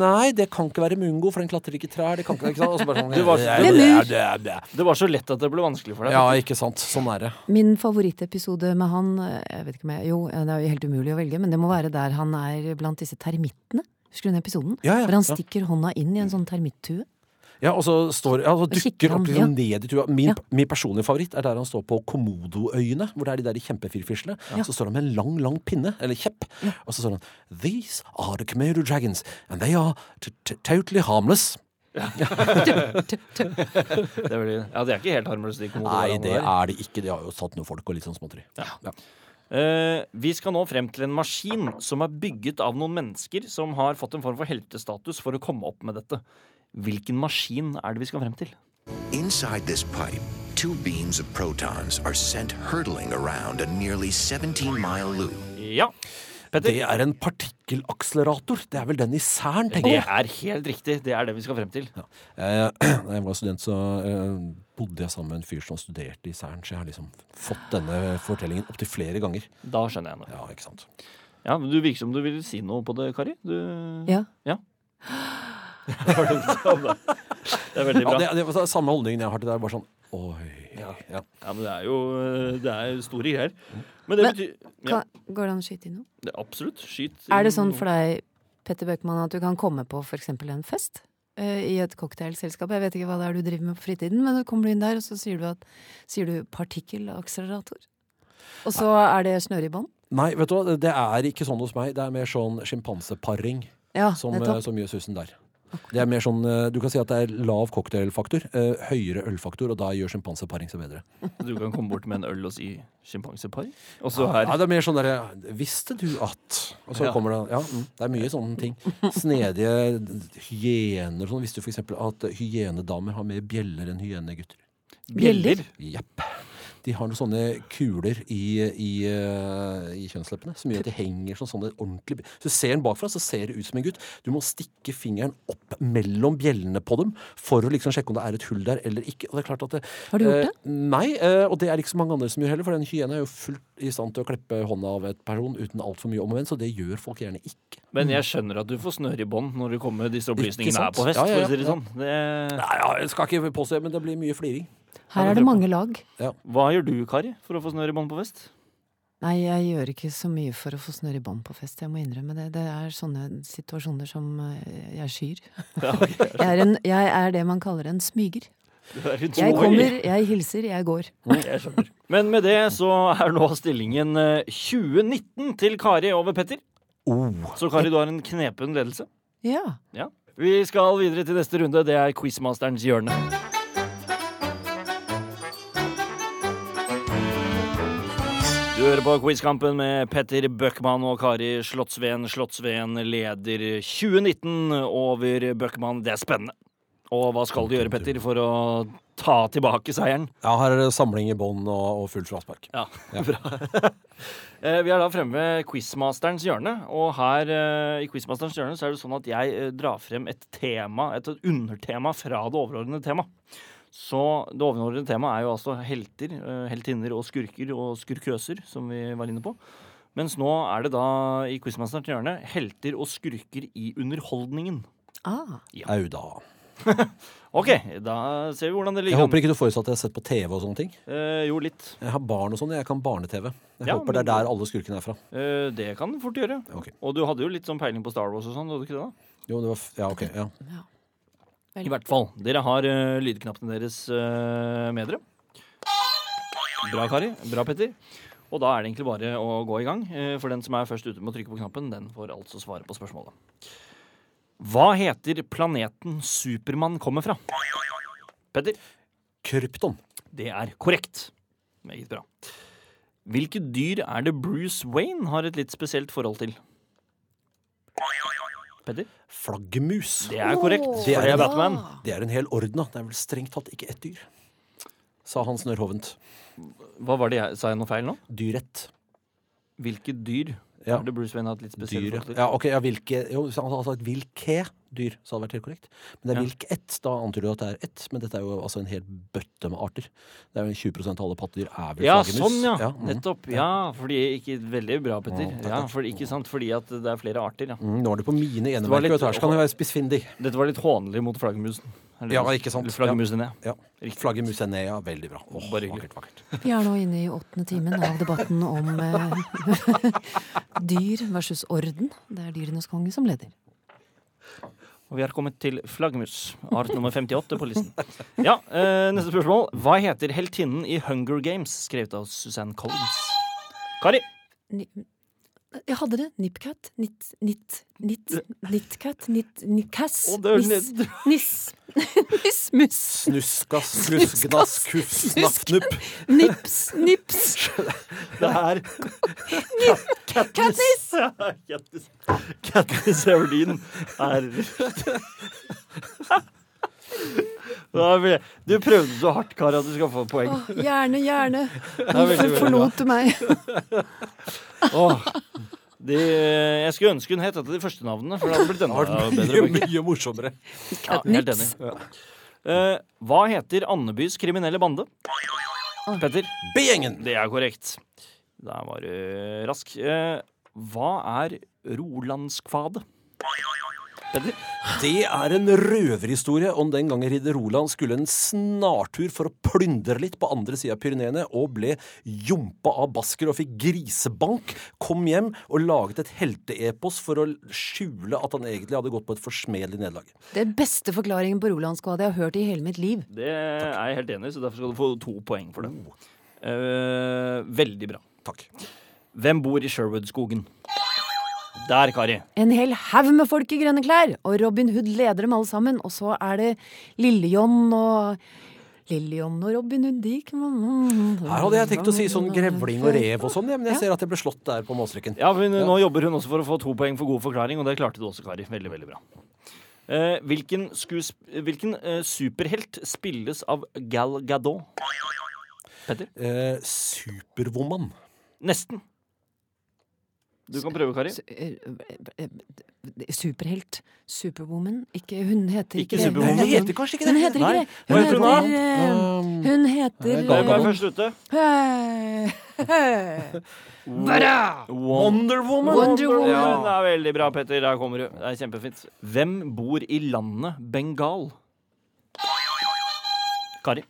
[SPEAKER 3] Nei, det kan ikke være Mungo, for den klatrer ikke trær. Det kan ikke, ikke sant? Og så bare sånn,
[SPEAKER 1] Det var-
[SPEAKER 3] ja,
[SPEAKER 1] det-
[SPEAKER 3] ja, ja, ja,
[SPEAKER 1] Det var så lett at det ble vanskelig for
[SPEAKER 3] ja.
[SPEAKER 1] deg.
[SPEAKER 3] ja, ikke sant. Sånn er det.
[SPEAKER 2] Min favorittepisode med han eh, jeg vet ikke om jeg, Jo, eh, det er jo helt umulig å velge, men det må være der han er blant disse termittene. Husker du den episoden?
[SPEAKER 3] Ja, ja,
[SPEAKER 2] Hvor han
[SPEAKER 3] ja.
[SPEAKER 2] stikker hånda inn i en sånn termittue.
[SPEAKER 3] Ja, og så står, ja, så
[SPEAKER 2] kikker
[SPEAKER 3] dukker
[SPEAKER 2] han,
[SPEAKER 3] opp liksom
[SPEAKER 2] ja.
[SPEAKER 3] ned i trua. Min,
[SPEAKER 2] Ja.
[SPEAKER 3] min personlige favoritt er der han står på Komodoøyene, hvor det er de der kjempefirfislene. Så står han med en lang, lang pinne, eller kjepp, og så står han These are the Komodo dragons, and they are t -t totally harmless.
[SPEAKER 1] Det er, veldig- ja, det er ikke helt harmløst. de
[SPEAKER 3] Nei,
[SPEAKER 1] kommodorene
[SPEAKER 3] det
[SPEAKER 1] der.
[SPEAKER 3] er det ikke. De har jo satt noen folk og litt sånn småtteri. Ja.
[SPEAKER 1] Eh, vi skal nå frem til en maskin som er bygget av noen mennesker som har fått en form for heltestatus for å komme opp med dette. Hvilken maskin er det vi skal frem til?
[SPEAKER 7] Inside this pipe, two beams of protons are sent hurtling around a nearly 17 mile loop.
[SPEAKER 1] Ja. Petter,
[SPEAKER 3] Det er en partikkelakselerator. Det er vel den i Cern, tenker
[SPEAKER 1] det
[SPEAKER 3] jeg.
[SPEAKER 1] er helt riktig. Det er det vi skal frem til.
[SPEAKER 3] Jeg, jeg var student, så eh, bodde jeg sammen med en fyr som studerte i Cern, så jeg har liksom fått denne fortellingen opptil flere ganger.
[SPEAKER 1] Da skjønner jeg noe.
[SPEAKER 3] Ja, ikke sant.
[SPEAKER 1] Ja, men Du virker som du ville si noe på det, Kari. Du...
[SPEAKER 2] Ja.
[SPEAKER 1] Det var det du sa om det. Det er veldig
[SPEAKER 3] Ja,
[SPEAKER 1] bra.
[SPEAKER 3] det, det var samme holdningen jeg har til det. Bare sånn Oi. Ja.
[SPEAKER 1] Ja, men det er jo eh, det er jo store greier. Men det
[SPEAKER 2] Men-
[SPEAKER 1] betyr ja,
[SPEAKER 2] Kan, går det an å skyte inn noe?
[SPEAKER 1] det er Absolutt. Skyt.
[SPEAKER 2] Er
[SPEAKER 3] Mm,
[SPEAKER 2] det sånn for deg, Petter Bøckmann, at du kan komme på f.eks. en fest? eh, I et cocktailselskap. Jeg vet ikke hva det er du driver med på fritiden, men så kommer du inn der, og så sier du, at, sier du 'partikkelakselerator'. Og så er det snøre i bånd?
[SPEAKER 3] Nei, vet du hva, det er ikke sånn hos meg. Det er mer sånn sjimpanseparing
[SPEAKER 2] Ja,
[SPEAKER 3] som, eh,
[SPEAKER 2] nettopp.
[SPEAKER 3] som gjør susen der. Det er mer sånn, eh, Du kan si at det er lav cocktailfaktor, eh, høyere ølfaktor, og da gjør sjimpanseparing seg bedre.
[SPEAKER 1] Du kan komme bort med en øl og si sjimpansepar. Og så
[SPEAKER 3] Ja,
[SPEAKER 1] her.
[SPEAKER 3] det er mer sånn derre Visste du at Og så
[SPEAKER 1] Ja.
[SPEAKER 3] kommer det Ja, mm, det er mye sånne ting. Snedige hyener og sånn. Visste du f.eks. at hyenedamer har mer bjeller enn hyenegutter?
[SPEAKER 1] Bjeller.
[SPEAKER 3] Jepp. De har noen sånne kuler i, i, eh, i kjønnsleppene som gjør at de henger sånn sånne ordentlig Hvis du ser den bakfra, så ser det ut som en gutt. Du må stikke fingeren opp mellom bjellene på dem for å liksom sjekke om det er et hull der eller ikke. Og det er klart at det,
[SPEAKER 2] Har du gjort det?
[SPEAKER 3] Eh, nei, eh, og det er det ikke så mange andre som gjør heller. For en hyene er jo fullt i stand til å klippe hånda av et person uten altfor mye om og men, så det gjør folk gjerne ikke.
[SPEAKER 1] Men jeg skjønner at du får snøre i bånd når du kommer med disse opplysningene her
[SPEAKER 3] Mm. sant?
[SPEAKER 1] på hest.
[SPEAKER 3] Ja, ja,
[SPEAKER 1] for å si det
[SPEAKER 3] ja.
[SPEAKER 1] sånn. det,
[SPEAKER 3] Nei, ja, jeg skal ikke påstå det, men det blir mye fliring.
[SPEAKER 2] Her er det mange lag.
[SPEAKER 1] hva gjør du, Kari, for å få snøre i bånd på hest?
[SPEAKER 2] Nei, jeg gjør ikke så mye for å få snørr i bånd på fest, jeg må innrømme det. Det er sånne situasjoner som eh, jeg skyr. jeg, er en, jeg er det man kaller en smyger.
[SPEAKER 1] Du er en
[SPEAKER 2] Jeg
[SPEAKER 1] småing.
[SPEAKER 2] kommer, jeg hilser, jeg går.
[SPEAKER 1] Men med det så er nå stillingen eh, 2019 til Kari over Petter.
[SPEAKER 3] Oh.
[SPEAKER 1] Så Kari, du har en knepen ledelse.
[SPEAKER 2] Ja.
[SPEAKER 1] Ja. Vi skal videre til neste runde. Det er Quizmasterens hjørne. Du hører på Quizkampen med Petter Bøckmann og Kari Slottsveen. Slottsveen leder 2019 over Bøckmann. Det er spennende. Og hva skal du gjøre, Petter, for å ta tilbake seieren?
[SPEAKER 3] Ja, her er det samling i bånd og, og fullt fraspark.
[SPEAKER 1] Ja, bra. Eh, Vi er da fremme ved Quizmasterens hjørne, og her eh, i Quizmasterens hjørne så er det sånn at jeg eh, drar frem et tema, et undertema fra det overordnede tema. Så det overordnede temaet er jo altså helter, eh, heltinner og skurker og skurkøser, som vi var inne på. Mens nå er det da i Quizmasterens hjørne helter og skurker i underholdningen.
[SPEAKER 2] Ah.
[SPEAKER 3] Au da.
[SPEAKER 1] OK, da ser vi hvordan det
[SPEAKER 3] Jeg
[SPEAKER 1] ligger
[SPEAKER 3] håper ikke du forutsatte at jeg har sett på TV og sånne ting.
[SPEAKER 1] Eh, jo, litt.
[SPEAKER 3] Jeg har barn og sånn, jeg kan barne-TV. Jeg
[SPEAKER 1] Ja,
[SPEAKER 3] håper det er der alle skurkene er fra.
[SPEAKER 1] Eh, det kan du fort gjøre.
[SPEAKER 3] Ok.
[SPEAKER 1] Og du hadde jo litt sånn peiling på Star Wars og sånn, hadde du ikke det? da?
[SPEAKER 3] Jo, det var, f- ja, ok, ja.
[SPEAKER 1] I hvert fall. Dere har eh, lydknappene deres eh, med dere. Bra, Kari. Bra, Petter. Og da er det egentlig bare å gå i gang. eh, for den som er først ute med å trykke på knappen, den får altså svare på spørsmålet. Hva heter planeten Supermann kommer fra? Petter,
[SPEAKER 3] Krypton.
[SPEAKER 1] det er korrekt. Meget bra. Hvilke dyr er det Bruce Wayne har et litt spesielt forhold til? Petter,
[SPEAKER 3] Flaggermus.
[SPEAKER 1] det er korrekt.
[SPEAKER 3] Det
[SPEAKER 1] for
[SPEAKER 3] er
[SPEAKER 1] det
[SPEAKER 3] en-
[SPEAKER 1] er Batman.
[SPEAKER 3] Det er en hel orden, da. Det er vel strengt tatt ikke ett dyr. Sa Hans Nørhovent.
[SPEAKER 1] Hva var det jeg Sa jeg noe feil nå?
[SPEAKER 3] Dyrett.
[SPEAKER 1] Hvilke dyr
[SPEAKER 3] Ja.
[SPEAKER 1] har det Bruce Wayne hatt litt spesielt
[SPEAKER 3] Dyr,
[SPEAKER 1] forhold til?
[SPEAKER 3] ja. ok, ja, hvilke, jo, så han sa at hvilke dyr, så hadde det vært helt korrekt. Men det er
[SPEAKER 1] Ja.
[SPEAKER 3] hvilk ett, da antyder du at det er ett, men dette er jo altså en hel bøtte med arter. Det er jo 20 av alle pattedyr er vel
[SPEAKER 1] Ja,
[SPEAKER 3] flaggermus.
[SPEAKER 1] sånn, ja.
[SPEAKER 3] mm.
[SPEAKER 1] Nettopp. Ja, fordi ikke Veldig bra, Petter.
[SPEAKER 3] takk,
[SPEAKER 1] Ja,
[SPEAKER 3] takk.
[SPEAKER 1] for, ikke sant? Fordi at det er flere arter, ja.
[SPEAKER 3] Mm, Nå er det på mine
[SPEAKER 1] var
[SPEAKER 3] enemerker,
[SPEAKER 1] litt-
[SPEAKER 3] vet du. Her skal jeg være spissfindig.
[SPEAKER 1] Dette var litt hånlig mot flaggermusen. Eller-
[SPEAKER 3] Ja, ikke sant.
[SPEAKER 1] Eller flaggermusen, ja.
[SPEAKER 3] Ja.
[SPEAKER 1] Riktig.
[SPEAKER 3] Flaggermus er ned, ja. Veldig bra. Åh,
[SPEAKER 1] Bare hyggelig.
[SPEAKER 3] vakkert, vakkert.
[SPEAKER 2] Vi er nå inne i åttende timen av debatten om eh, dyr versus orden. Det er dyrenes konge som leder.
[SPEAKER 1] Og vi har kommet til flaggermus, art nummer 58 på listen. Ja, eh, neste spørsmål. Hva heter heltinnen i Hunger Games, skrevet av Suzanne Collins? Kari.
[SPEAKER 2] Ni- Jeg hadde det. Nipcat. Nit... Nit... Nit... Nitcat. Nit... Nitcass.
[SPEAKER 1] Å, det er
[SPEAKER 2] Niss.
[SPEAKER 1] ned-
[SPEAKER 2] Niss. Nissmus.
[SPEAKER 3] Snuskass, kluskgnass, kufs, snappnupp.
[SPEAKER 2] Nips. Nips.
[SPEAKER 1] Det er
[SPEAKER 2] Katniss.
[SPEAKER 1] Katniss. Katniss Everdeen er Da ble- Du prøvde så hardt, Kari, at du skal få poeng.
[SPEAKER 2] Åh, Gjerne, gjerne.
[SPEAKER 1] er veldig,
[SPEAKER 2] Hvorfor
[SPEAKER 1] veldig
[SPEAKER 2] forlot du meg?
[SPEAKER 1] Åh. De, jeg skulle ønske hun het et av de første navnene, for det hadde blitt enda bedre.
[SPEAKER 3] Mye, mye morsommere.
[SPEAKER 1] Ja, helt enig.
[SPEAKER 2] Katniss.
[SPEAKER 1] Eh, hva heter Andebys kriminelle bande? Petter,
[SPEAKER 3] B-gjengen!
[SPEAKER 1] det er korrekt. Der var du rask. Eh, hva er Rolandskvadet? Petter?
[SPEAKER 3] Det er en røverhistorie om den gangen ridder Roland skulle en snartur for å plyndre litt på andre sida av Pyreneene, og ble jompa av basker og fikk grisebank, kom hjem og laget et helteepos for å skjule at han egentlig hadde gått på et forsmedelig nederlag.
[SPEAKER 2] Det er beste forklaringen på Rolandskvadet jeg har hørt i hele mitt liv.
[SPEAKER 1] Det er jeg helt enig i, så derfor skal du få to poeng for det. Eh, veldig bra.
[SPEAKER 3] Takk.
[SPEAKER 1] Hvem bor i Sherwoodskogen? Der, Kari.
[SPEAKER 2] En hel haug med folk i grønne klær, og Robin Hood leder dem alle sammen. Og så er det Lille-John og Lille-John og Robin Hood de
[SPEAKER 3] Her
[SPEAKER 2] Her
[SPEAKER 3] hadde jeg tenkt å si sånn grevling og rev og sånn, ja, men jeg ser at jeg ble slått der på målstreken.
[SPEAKER 1] Ja, men Nå jobber hun også for å få to poeng for god forklaring, og det klarte du også, Kari. Veldig, veldig bra. Eh, hvilken skuesp hvilken eh, superhelt spilles av Gal Gadot? Petter?
[SPEAKER 3] Eh, Superwoman.
[SPEAKER 1] Nesten. Du kan prøve, Kari.
[SPEAKER 2] eh, Superhelt. Superwoman. Ikke, hun heter
[SPEAKER 1] Ikke
[SPEAKER 2] ikke det.
[SPEAKER 1] Superwoman.
[SPEAKER 3] Nei, hun heter kanskje ikke det.
[SPEAKER 2] Hun heter ikke
[SPEAKER 1] Nei.
[SPEAKER 2] det.
[SPEAKER 1] Hva
[SPEAKER 2] Hun
[SPEAKER 1] heter hun da?
[SPEAKER 2] heter, eh, hun heter
[SPEAKER 1] Hvem er
[SPEAKER 3] Gadot.
[SPEAKER 1] først ute?
[SPEAKER 2] eh,
[SPEAKER 1] Wonder Woman.
[SPEAKER 2] Wonder Woman.
[SPEAKER 1] Ja, det er veldig bra, Petter. Der kommer du. Det er kjempefint. Hvem bor i landet Bengal? Kari.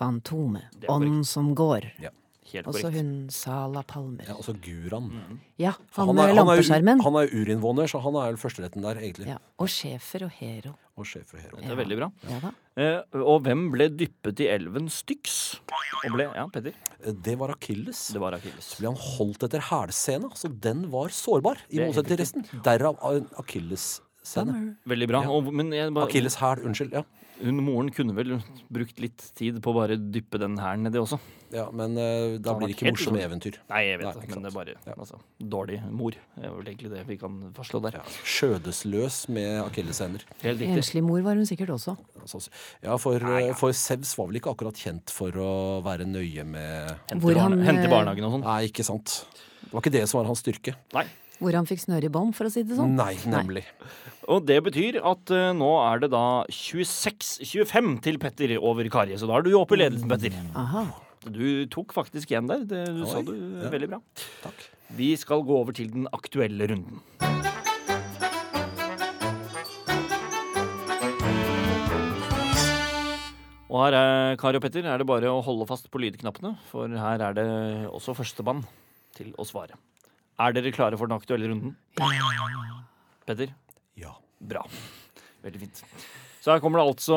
[SPEAKER 2] Fantomet.
[SPEAKER 1] korrekt.
[SPEAKER 2] Ånd som går.
[SPEAKER 1] Helt
[SPEAKER 2] Og
[SPEAKER 1] korrekt.
[SPEAKER 2] så Altså, hun Sala Palmer.
[SPEAKER 3] Ja, altså Guran.
[SPEAKER 2] Ja, Mm. han
[SPEAKER 3] Han
[SPEAKER 2] med
[SPEAKER 3] er, han, er,
[SPEAKER 2] lampeskjermen.
[SPEAKER 3] u- han er urinnvåner, så han er vel førsteretten der, egentlig.
[SPEAKER 2] Ja, og Schæfer og Hero.
[SPEAKER 3] Og sjef for Hero.
[SPEAKER 1] Det er veldig bra.
[SPEAKER 2] Ja da.
[SPEAKER 1] Eh, og hvem ble dyppet i elven Styx? Og ble, ja, Petter.
[SPEAKER 3] Eh, Det var Akilles.
[SPEAKER 1] Det var Akilles.
[SPEAKER 3] ble han holdt etter hælscena, så den var sårbar. I
[SPEAKER 1] Det er
[SPEAKER 3] motsetning til resten. Derav eh, en akillesscene.
[SPEAKER 1] Veldig bra. Og, men jeg bare,
[SPEAKER 3] Akilles hæl, unnskyld. Ja.
[SPEAKER 1] hun moren kunne vel brukt litt tid på å bare dyppe den hæren nedi også.
[SPEAKER 3] ja, Men eh, da
[SPEAKER 1] Han var
[SPEAKER 3] blir det ikke
[SPEAKER 1] helt
[SPEAKER 3] morsomme
[SPEAKER 1] sånn.
[SPEAKER 3] eventyr.
[SPEAKER 1] Nei, jeg vet
[SPEAKER 3] Nei,
[SPEAKER 1] det,
[SPEAKER 3] ikke
[SPEAKER 1] men det er
[SPEAKER 3] sant.
[SPEAKER 1] bare altså, dårlig mor. Det er vel egentlig det vi kan fastslå der.
[SPEAKER 3] Skjødesløs med akilleshæler.
[SPEAKER 1] Helt riktig.
[SPEAKER 2] Enslig mor var hun sikkert også.
[SPEAKER 3] Altså, ja, for, eh, for Sevs var vel ikke akkurat kjent for å være nøye med
[SPEAKER 1] Hente,
[SPEAKER 2] Hvor han,
[SPEAKER 1] barne, hente
[SPEAKER 2] eh,
[SPEAKER 1] barnehagen og sånn.
[SPEAKER 3] Nei, ikke sant. Det var ikke det som var hans styrke.
[SPEAKER 1] Nei.
[SPEAKER 2] eh, Hvor han fikk snøre i bånd, for å si det sånn.
[SPEAKER 3] Nei, nemlig.
[SPEAKER 1] Og det betyr at eh, nå er det da 26-25 til Petter over Kari, så da er du jo oppe i ledelsen, Petter.
[SPEAKER 2] Aha.
[SPEAKER 1] Du tok faktisk igjen der. Det du sa
[SPEAKER 3] Oi,
[SPEAKER 1] du eh, veldig bra.
[SPEAKER 3] Takk.
[SPEAKER 1] Vi skal gå over til den aktuelle runden. Og her er Kari og Petter, er det bare å holde fast på lydknappene, for her er det også førstemann til å svare. Er dere klare for den aktuelle runden? Petter?
[SPEAKER 3] Ja.
[SPEAKER 1] Bra. Veldig fint. Så her kommer det altså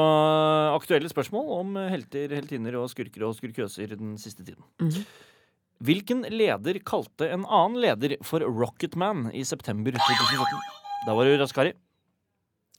[SPEAKER 1] aktuelle spørsmål om helter, heltinner og skurker og skurkøser den siste tiden. Hvilken leder kalte en annen leder for Rocketman i september 2014? Da var det Raskari.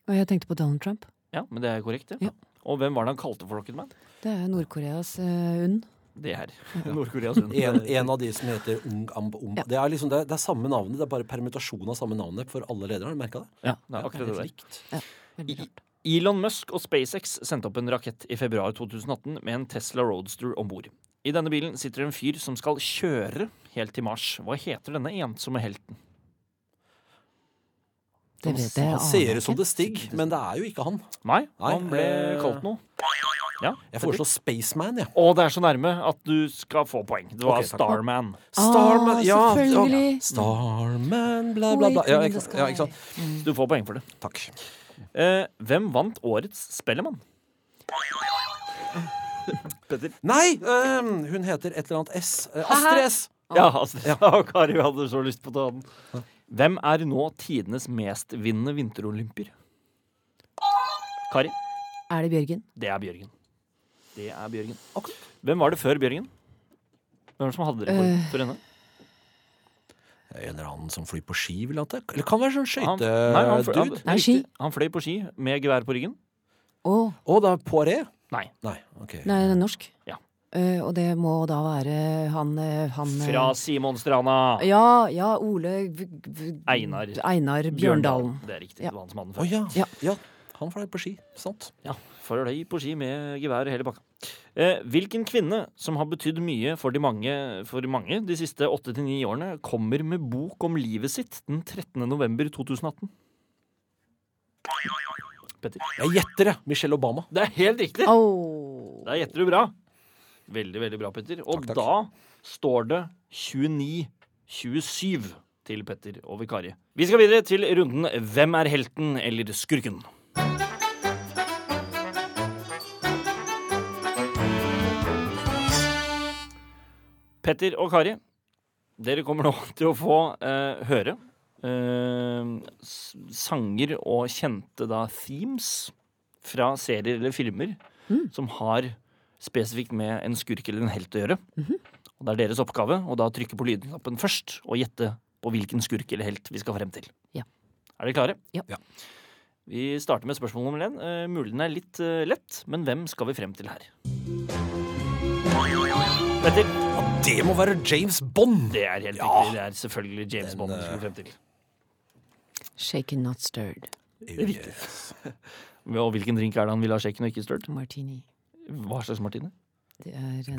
[SPEAKER 2] Og jeg tenkte på Donald Trump.
[SPEAKER 1] Ja, men det er korrekt, det.
[SPEAKER 2] Ja.
[SPEAKER 1] Og hvem var det han kalte for Rocketman?
[SPEAKER 2] Det er Nord-Koreas eh, UNN.
[SPEAKER 1] Det her. Nord-Koreas hund.
[SPEAKER 3] En, en av de som heter Ung Amb Om. Det, er liksom, det, er, det er samme navnet, det er bare permutasjon av samme navnet for alle ledere. Har du merka det?
[SPEAKER 1] Ja, det er akkurat det der.
[SPEAKER 2] Veldig rart.
[SPEAKER 1] Elon Musk og SpaceX sendte opp en rakett i februar 2018 med en Tesla Roadster om bord. I denne bilen sitter en fyr som skal kjøre helt til Mars. Hva heter denne ensomme helten?
[SPEAKER 2] Det vet jeg.
[SPEAKER 3] Han ser ut som det Stig, men det er jo ikke han.
[SPEAKER 1] Nei,
[SPEAKER 3] Nei,
[SPEAKER 1] han ble
[SPEAKER 3] eh,
[SPEAKER 1] kalt noe. Ja,
[SPEAKER 3] Jeg
[SPEAKER 1] Petter?
[SPEAKER 3] foreslår Spaceman, jeg.
[SPEAKER 1] Og det er så nærme at du skal få poeng. Det var
[SPEAKER 3] Ok,
[SPEAKER 1] Ah,
[SPEAKER 3] takk.
[SPEAKER 1] Starman.
[SPEAKER 3] Starman, ja,
[SPEAKER 2] selvfølgelig.
[SPEAKER 3] ja. Starman, bla, bla, bla. Ja, ikke, sant, ja, ikke sant.
[SPEAKER 1] Du får poeng for det.
[SPEAKER 3] Takk.
[SPEAKER 1] Eh, hvem vant årets Spellemann? Petter?
[SPEAKER 3] Nei, øhm, hun heter et eller annet S. Eh, Astrid S.
[SPEAKER 1] Ja, Astrid. Kari hadde så lyst på å ta den. Hvem er nå tidenes mestvinnende vinterolympier? Kari?
[SPEAKER 2] Er det Bjørgen?
[SPEAKER 1] Det er Bjørgen. Det er Bjørgen. Hvem var det før Bjørgen? Hvem var det som hadde det
[SPEAKER 2] Eh.
[SPEAKER 1] for, for henne?
[SPEAKER 3] En eller annen som flyr på ski, vil jeg anta. Eller kan være sånn
[SPEAKER 1] Han, nei, han, fløy, han,
[SPEAKER 3] skøytedude.
[SPEAKER 1] det er
[SPEAKER 2] Nei, ski.
[SPEAKER 1] riktig. han fløy på ski med gevær på ryggen.
[SPEAKER 2] Å,
[SPEAKER 3] Å, det er Poiret?
[SPEAKER 1] Nei.
[SPEAKER 3] Nei, ok.
[SPEAKER 2] nei, det er norsk.
[SPEAKER 1] Ja.
[SPEAKER 2] Eh, og det må da være han, eh, han eh,
[SPEAKER 1] Fra Simonstranda.
[SPEAKER 2] Ja, ja, Ole v- v-
[SPEAKER 1] Einar.
[SPEAKER 2] Einar Bjørndalen.
[SPEAKER 1] Det er riktig.
[SPEAKER 2] Ja.
[SPEAKER 1] Det var han som hadde den
[SPEAKER 3] Å
[SPEAKER 1] før.
[SPEAKER 3] ja.
[SPEAKER 2] Ja.
[SPEAKER 3] ja. Han fløy på ski. Sant.
[SPEAKER 1] Ja, Fløy på ski med gevær hele pakka. Eh, hvilken kvinne som har betydd mye for de mange, for mange de siste åtte til ni årene, kommer med bok om livet sitt den 13. november 2018? Petter.
[SPEAKER 3] Jeg gjetter, jeg. Michelle Obama.
[SPEAKER 1] Det er helt riktig!
[SPEAKER 2] Åh.
[SPEAKER 1] Der gjetter du bra. Veldig, veldig bra, Petter. Og
[SPEAKER 3] Takk, takk.
[SPEAKER 1] da står det 29-27 til Petter og Vikari. Vi skal videre til runden Hvem er helten eller skurken? Petter og Kari, dere kommer nå til å få eh, høre eh, s- sanger og kjente da themes fra serier eller filmer
[SPEAKER 2] Mm.
[SPEAKER 1] som har spesifikt med
[SPEAKER 2] Mhm.
[SPEAKER 1] en skurk eller en helt å gjøre. Og det er deres oppgave å da trykke på lydknappen først og gjette på hvilken skurk eller helt vi skal frem til.
[SPEAKER 2] Ja.
[SPEAKER 1] Er dere klare?
[SPEAKER 2] Ja.
[SPEAKER 3] Ja.
[SPEAKER 1] Vi starter med spørsmål nummer én. Eh, mulig den er litt eh, lett, men hvem skal vi frem til her? Petter,
[SPEAKER 3] Det må være James Bond!
[SPEAKER 1] det er helt
[SPEAKER 3] Ja.
[SPEAKER 1] riktig. Det er selvfølgelig James
[SPEAKER 3] Den,
[SPEAKER 1] Bond vi
[SPEAKER 3] eh,
[SPEAKER 1] skal frem til.
[SPEAKER 2] Shaken not stirred.
[SPEAKER 1] Og hvilken drink er det han vil ha shaken og ikke stirred?
[SPEAKER 2] Martini.
[SPEAKER 1] Hva slags martini?
[SPEAKER 2] Det er en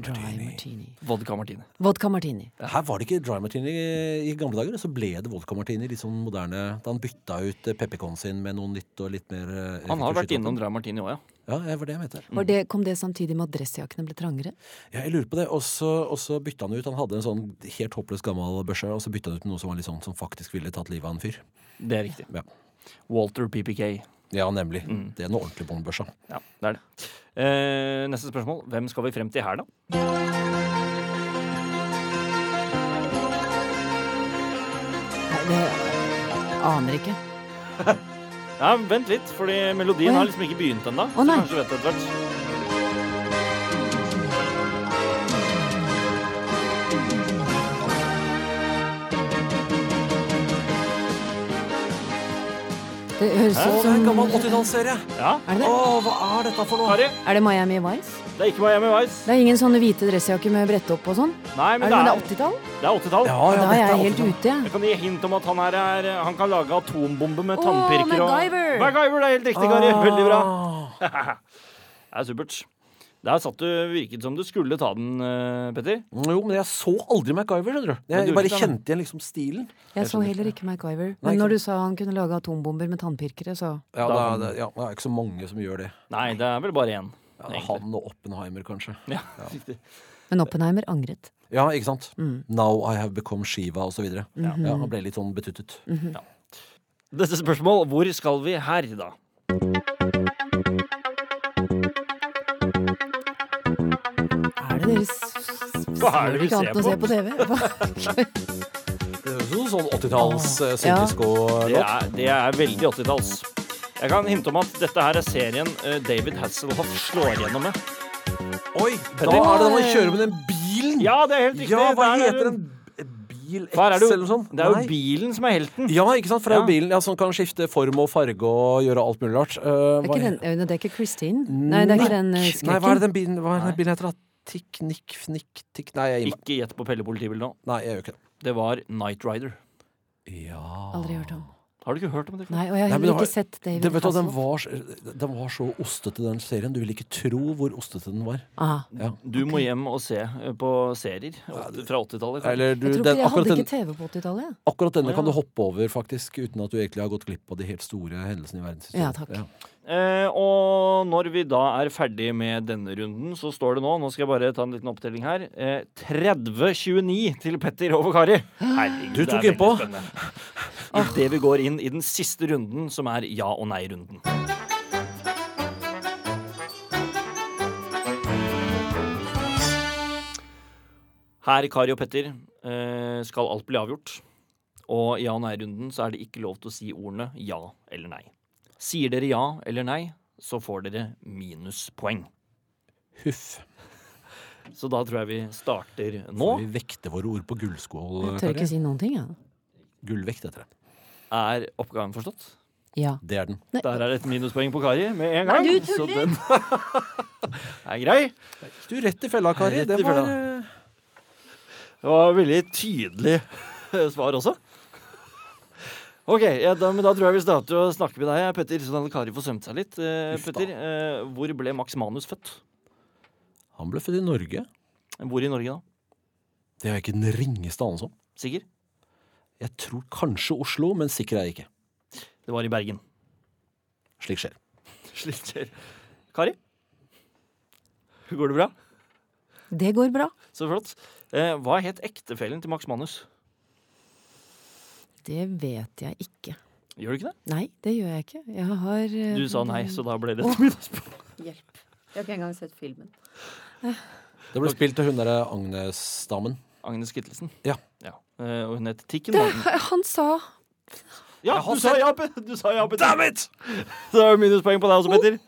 [SPEAKER 3] Dry martini.
[SPEAKER 1] Vodka martini.
[SPEAKER 2] Vodka martini.
[SPEAKER 3] Her var det ikke dry martini i gamle dager, og så ble det vodka martini. Litt sånn moderne, Da han bytta ut eh, peppercornen sin med noe nytt og litt mer eh,
[SPEAKER 1] Han har
[SPEAKER 3] effektivt
[SPEAKER 1] vært
[SPEAKER 3] skytevåpen.
[SPEAKER 1] innom dry martini òg, ja.
[SPEAKER 3] Ja, det var det jeg mente.
[SPEAKER 2] Var det, kom det samtidig med at dressjakkene ble trangere?
[SPEAKER 3] Ja, jeg lurer på det. Og så, og så bytta han ut. Han hadde en sånn helt håpløs gammel børse, og så bytta han ut med noe som var litt sånn som faktisk ville tatt livet av en fyr.
[SPEAKER 1] Det er riktig.
[SPEAKER 3] Ja,
[SPEAKER 1] Walter PPK.
[SPEAKER 3] ja nemlig.
[SPEAKER 1] Mm.
[SPEAKER 3] Det er noe ordentlig båndbørsa.
[SPEAKER 1] Ja, det er det. Eh, neste spørsmål. Hvem skal vi frem til her, da?
[SPEAKER 2] Nei, det aner ikke.
[SPEAKER 1] Ja, Vent litt, fordi melodien
[SPEAKER 2] Å, ja.
[SPEAKER 1] har liksom ikke begynt ennå.
[SPEAKER 2] Å,
[SPEAKER 1] så
[SPEAKER 2] nei.
[SPEAKER 1] kanskje du vet det etter hvert.
[SPEAKER 2] Det høres
[SPEAKER 1] Hæ?
[SPEAKER 2] ut
[SPEAKER 3] Det er en gammel
[SPEAKER 2] som
[SPEAKER 3] 80-tallsserie!
[SPEAKER 1] Ja,
[SPEAKER 2] Er det
[SPEAKER 3] Å,
[SPEAKER 2] det?
[SPEAKER 3] hva er dette for noe?
[SPEAKER 1] Kari.
[SPEAKER 2] Er det Miami Vice?
[SPEAKER 1] Det er ikke Miami Vice.
[SPEAKER 2] Det er ingen sånne hvite dressjakker med brette opp og sånn?
[SPEAKER 1] Nei,
[SPEAKER 2] Er
[SPEAKER 1] men
[SPEAKER 2] det, men det er
[SPEAKER 1] det
[SPEAKER 2] 80-tall?
[SPEAKER 1] er det er 80-tall.
[SPEAKER 2] Da
[SPEAKER 3] Ja, ja,
[SPEAKER 2] er
[SPEAKER 3] dette
[SPEAKER 2] jeg helt
[SPEAKER 3] 80-tall.
[SPEAKER 2] ute, jeg.
[SPEAKER 1] Jeg kan gi hint om at han her er Han kan lage atombombe med
[SPEAKER 2] Å,
[SPEAKER 1] tannpirker og
[SPEAKER 2] MacGyver!
[SPEAKER 1] MacGyver, det er helt riktig, Kari. Veldig bra.
[SPEAKER 3] Ah.
[SPEAKER 1] Det er supert. Der satt du Virket som du skulle ta den, eh, Petter.
[SPEAKER 3] Mm, Jo, men jeg så aldri MacGyver, skjønner du.
[SPEAKER 1] Men
[SPEAKER 3] Jeg
[SPEAKER 1] du
[SPEAKER 3] bare
[SPEAKER 1] likte han.
[SPEAKER 3] kjente igjen liksom stilen.
[SPEAKER 2] Jeg så heller ikke MacGyver.
[SPEAKER 3] Nei,
[SPEAKER 2] Men
[SPEAKER 3] ikke
[SPEAKER 2] når du sa han kunne lage atombomber med tannpirkere, så
[SPEAKER 3] Ja, det
[SPEAKER 1] Da-
[SPEAKER 3] er, det, ja, det er ikke så mange som gjør det.
[SPEAKER 1] Nei, det er vel bare én.
[SPEAKER 3] Ja, det er
[SPEAKER 1] egentlig.
[SPEAKER 3] han og Oppenheimer, kanskje.
[SPEAKER 1] Ja, riktig.
[SPEAKER 2] Men Oppenheimer angret.
[SPEAKER 3] Ja, ikke sant?
[SPEAKER 2] Mm.
[SPEAKER 3] Now I have become Shiva, og så videre.
[SPEAKER 1] Ja.
[SPEAKER 3] Ja, han ble litt sånn betuttet.
[SPEAKER 1] Neste spørsmål. Hvor skal vi her, da?
[SPEAKER 2] Er det deres
[SPEAKER 1] Hva er det du
[SPEAKER 2] ikke annet å se
[SPEAKER 1] ser på?
[SPEAKER 2] på TV? Hva?
[SPEAKER 3] Det er jo Sånn 80-talls eh,
[SPEAKER 2] Ja.
[SPEAKER 1] Det
[SPEAKER 3] syndisco-låt.
[SPEAKER 1] er, det er veldig 80-talls. Jeg kan hinte om at dette her er serien eh, David Hasselhoff slår gjennom med.
[SPEAKER 3] Oi, da
[SPEAKER 1] Petter.
[SPEAKER 3] er det når man kjører med den bilen!
[SPEAKER 1] Ja, det er helt riktig!
[SPEAKER 3] Ja, hva
[SPEAKER 1] Der er
[SPEAKER 3] heter
[SPEAKER 1] hun.
[SPEAKER 3] den? Bil X
[SPEAKER 1] Der er det,
[SPEAKER 3] eller noe
[SPEAKER 1] jo,
[SPEAKER 3] sånt?
[SPEAKER 1] det er
[SPEAKER 3] Nei.
[SPEAKER 1] jo bilen som er helten.
[SPEAKER 3] Ja, ikke sant? For det er jo
[SPEAKER 1] Ja.
[SPEAKER 3] bilen ja, som kan skifte form og farge og gjøre alt mulig rart. Eh,
[SPEAKER 2] Det er
[SPEAKER 3] hva
[SPEAKER 2] ikke den,
[SPEAKER 3] heter-
[SPEAKER 2] Øyne, det er ikke Christine. Nei, det er ikke den eh,
[SPEAKER 3] Nikk. Nei, hva er det
[SPEAKER 2] skrekken.
[SPEAKER 3] den bilen, hva er det den bilen heter? da? Tikk, nikk, nikk, tikk Nei, jeg gir meg.
[SPEAKER 1] Ikke gjett på Pelle Politibil nå.
[SPEAKER 3] Nei, jeg gjør ikke det.
[SPEAKER 1] Det var Night Rider.
[SPEAKER 3] Ja
[SPEAKER 2] Aldri hørt om.
[SPEAKER 1] Har du ikke hørt om det? før?
[SPEAKER 2] Nei, og jeg har
[SPEAKER 3] Nei, men det
[SPEAKER 2] heller
[SPEAKER 3] var-
[SPEAKER 2] ikke sett
[SPEAKER 3] det,
[SPEAKER 2] David
[SPEAKER 3] vet du, hva, den,
[SPEAKER 2] Hasselhoff.
[SPEAKER 3] var, så- den var så ostete, den serien. Du vil ikke tro hvor ostete den var.
[SPEAKER 2] Ah,
[SPEAKER 1] Du må hjem og se eh, på serier åt- fra 80-tallet. kanskje.
[SPEAKER 3] Eller du,
[SPEAKER 2] jeg tror ikke
[SPEAKER 3] den,
[SPEAKER 2] jeg
[SPEAKER 3] akkurat,
[SPEAKER 2] hadde
[SPEAKER 3] den,
[SPEAKER 2] ikke TV på 80-tallet. jeg.
[SPEAKER 3] akkurat denne
[SPEAKER 1] Å, ja.
[SPEAKER 3] kan du hoppe over, faktisk, uten at du egentlig har gått glipp av de helt store hendelsene i verdenshistorien.
[SPEAKER 2] Ja, takk.
[SPEAKER 1] Eh, og når vi da er ferdig med denne runden, så står det nå Nå skal jeg bare ta en liten opptelling her. Eh, 30-29 til Petter over Kari. Herregud,
[SPEAKER 3] Du
[SPEAKER 1] det er
[SPEAKER 3] tok innpå.
[SPEAKER 1] veldig spennende. Idet vi går inn i den siste runden, som er ja- og nei-runden. Her, Kari og Petter, eh, skal alt bli avgjort. Og i ja- og nei-runden så er det ikke lov til å si ordene ja eller nei. Sier dere ja eller nei, så får dere minuspoeng.
[SPEAKER 3] Huff.
[SPEAKER 1] Så da tror jeg vi starter nå.
[SPEAKER 3] Får vi vekte våre ord på gullskål?
[SPEAKER 2] Jeg tør
[SPEAKER 3] Kari?
[SPEAKER 2] ikke si noen ting, jeg.
[SPEAKER 3] Gullvekt heter det.
[SPEAKER 1] Er oppgaven forstått?
[SPEAKER 2] Ja.
[SPEAKER 3] Det er den.
[SPEAKER 1] Der er et minuspoeng på Kari med en gang.
[SPEAKER 2] Nei, du
[SPEAKER 1] så
[SPEAKER 2] tuller!
[SPEAKER 1] den er grei.
[SPEAKER 3] Du, rett i fella, Kari.
[SPEAKER 1] Rett i
[SPEAKER 3] Det var eh,
[SPEAKER 1] fella. Det var veldig tydelig svar også. OK, ja, da, men da tror jeg vi starter å snakke med deg, Petter, sånn at Kari får svømt seg litt. Eh,
[SPEAKER 3] Uff da.
[SPEAKER 1] Petter, eh, hvor ble Max Manus født?
[SPEAKER 3] Han ble født i Norge.
[SPEAKER 1] Hvor i Norge, da?
[SPEAKER 3] Det har jeg ikke den ringeste anelse om.
[SPEAKER 1] Sikker?
[SPEAKER 3] Jeg tror kanskje Oslo, men sikker er jeg ikke.
[SPEAKER 1] Det var i Bergen.
[SPEAKER 3] Slik skjer.
[SPEAKER 1] Slikt skjer. Kari? Går det bra?
[SPEAKER 2] Det går bra.
[SPEAKER 1] Så flott. Eh, hva het ektefellen til Max Manus?
[SPEAKER 2] Det vet jeg ikke.
[SPEAKER 1] Gjør du ikke det?
[SPEAKER 2] Nei, det gjør jeg ikke. Jeg har eh,
[SPEAKER 1] Du sa nei, så da ble det et middagsspørsmål.
[SPEAKER 8] Hjelp. Jeg har ikke engang sett filmen.
[SPEAKER 3] Det ble spilt av hun derre Agnes-damen.
[SPEAKER 1] Agnes Kittelsen.
[SPEAKER 3] Ja.
[SPEAKER 1] Eh, og hun het Tikken. Magnus.
[SPEAKER 9] Eh,
[SPEAKER 2] Han sa
[SPEAKER 1] Ja,
[SPEAKER 3] har
[SPEAKER 1] du sa
[SPEAKER 3] sett-
[SPEAKER 1] ja, Pe- du sa ja, Petter.
[SPEAKER 3] Damn it!
[SPEAKER 1] Så er det minuspoeng på deg også, Petter.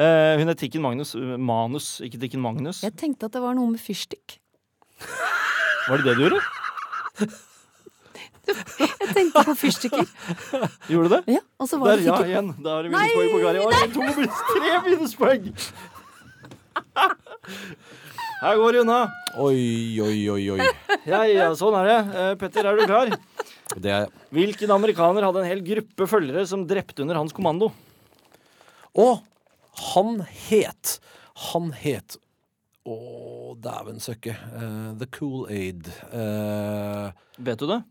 [SPEAKER 1] Eh, hun het Tikken Magnus. eh, Manus, ikke Tikken Magnus.
[SPEAKER 2] Jeg tenkte at det var noe med fyrstikk.
[SPEAKER 1] Var det det du gjorde?
[SPEAKER 2] Jeg tenkte på fyrstikker.
[SPEAKER 1] Gjorde du det?
[SPEAKER 2] Ja, og så var
[SPEAKER 1] Der,
[SPEAKER 2] det
[SPEAKER 1] ja,
[SPEAKER 2] ikke
[SPEAKER 1] igjen. Da er det minuspoeng på Kari. Oi, to minus, tre minuspoeng! Her går det unna.
[SPEAKER 3] Oi, oi, oi, oi.
[SPEAKER 1] Ja, ja, sånn er det. Eh, Petter, er du klar?
[SPEAKER 3] Det er
[SPEAKER 1] Hvilken amerikaner hadde en hel gruppe følgere som drepte under hans kommando?
[SPEAKER 3] Og han het Han het Å, dæven søkke. eh, the Cool-Aid. Eh,
[SPEAKER 1] Vet du det?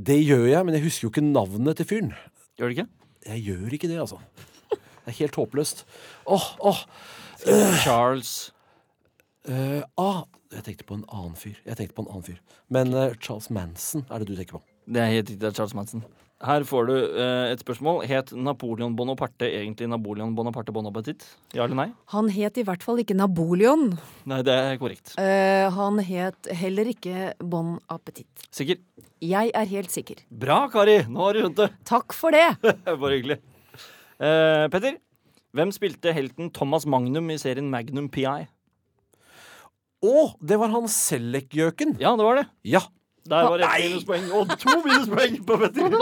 [SPEAKER 3] det gjør jeg, men jeg husker jo ikke navnet til fyren.
[SPEAKER 1] Gjør du ikke?
[SPEAKER 3] Jeg gjør ikke det, altså. Det er helt håpløst. Åh, åh.
[SPEAKER 1] Charles
[SPEAKER 3] eh, ah, jeg tenkte på en annen fyr. Jeg tenkte på en annen fyr. Men eh, Charles Manson er det du tenker på.
[SPEAKER 1] Det er helt riktig. Det er Charles Manson. Her får du eh, et spørsmål. Het Napoleon Bonaparte egentlig Napoleon Bonaparte Bon Appetit? Ja eller nei?
[SPEAKER 9] Han het i hvert fall ikke Napoleon.
[SPEAKER 1] Nei, det er korrekt.
[SPEAKER 9] Eh, han het heller ikke Bon Appetit.
[SPEAKER 1] Sikker?
[SPEAKER 9] Jeg er helt sikker.
[SPEAKER 1] Bra, Kari! Nå har du skjønt det.
[SPEAKER 9] Takk for det!
[SPEAKER 1] Det er Bare hyggelig. Eh, Petter, hvem spilte helten Thomas Magnum i serien Magnum PI?
[SPEAKER 3] Å, det var han Selleck-gjøken.
[SPEAKER 1] Ja, det var det.
[SPEAKER 3] Ja.
[SPEAKER 1] Der var ett minuspoeng. Og to minuspoeng på Petter!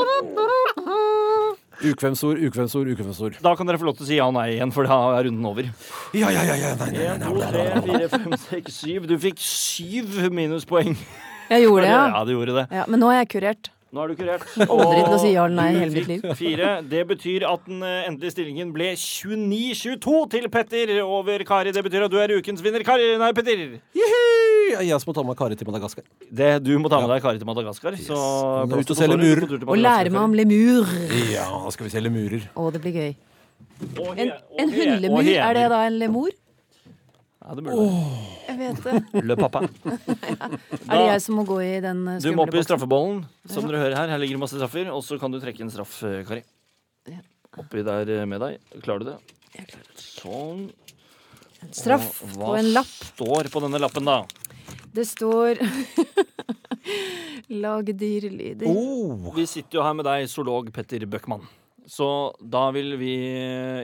[SPEAKER 3] Ukvemsord, ukvemsord, ukvemsord.
[SPEAKER 1] Da kan dere få lov til å si ja og nei igjen, for da er runden over.
[SPEAKER 3] Ja, ja, ja, ja. Nei, nei,
[SPEAKER 1] En,
[SPEAKER 3] nei,
[SPEAKER 1] to,
[SPEAKER 3] nei,
[SPEAKER 1] tre,
[SPEAKER 3] nei, nei.
[SPEAKER 1] fire, fem, seks, syv. Du fikk syv minuspoeng.
[SPEAKER 9] Jeg gjorde det, ja.
[SPEAKER 1] Ja, du gjorde det.
[SPEAKER 9] ja. Men nå er jeg kurert.
[SPEAKER 1] Nå er du kurert.
[SPEAKER 9] Aldri til å si ja
[SPEAKER 1] Og
[SPEAKER 9] eller nei i
[SPEAKER 1] du
[SPEAKER 9] hele mitt liv.
[SPEAKER 1] fikk Fire. Det betyr at den eh, endelige stillingen ble 29-22 til Petter over Kari. Det betyr at du er ukens vinner, Kari. Nei, Petter.
[SPEAKER 3] Jihi! Jeg som må ta med Kari til Madagaskar.
[SPEAKER 1] Det du må ta med deg Kari til Madagaskar. Så
[SPEAKER 3] Hun er
[SPEAKER 1] plassen
[SPEAKER 3] ute og
[SPEAKER 1] består
[SPEAKER 3] selger
[SPEAKER 1] ut på
[SPEAKER 3] murer.
[SPEAKER 1] tur til
[SPEAKER 9] Og lære meg
[SPEAKER 1] Madagaskar.
[SPEAKER 9] om lemur.
[SPEAKER 3] Ja, da skal vi selge murer.
[SPEAKER 9] Å, det blir gøy. En,
[SPEAKER 1] Og he- og
[SPEAKER 9] en
[SPEAKER 1] he- og
[SPEAKER 9] hundelemur,
[SPEAKER 1] hener.
[SPEAKER 9] er det da en lemur?
[SPEAKER 1] Ja, det burde det.
[SPEAKER 9] Jeg vet det.
[SPEAKER 1] Le pappa.
[SPEAKER 9] Er det jeg som må gå i den eh,
[SPEAKER 1] Du
[SPEAKER 9] skumle
[SPEAKER 1] må opp i
[SPEAKER 9] boksen?
[SPEAKER 1] straffebollen, som dere hører her. Her ligger det masse straffer. Og så kan du trekke en straff, eh, Kari. Oppi der eh, med deg. Klarer du det? Sånn.
[SPEAKER 9] Straff
[SPEAKER 1] Og
[SPEAKER 9] på en lapp.
[SPEAKER 1] Hva står på denne lappen, da?
[SPEAKER 9] Det står Lag dyrelyder.
[SPEAKER 3] Oh.
[SPEAKER 1] Vi sitter jo her med deg, zoolog Petter Bøckmann. Så da vil vi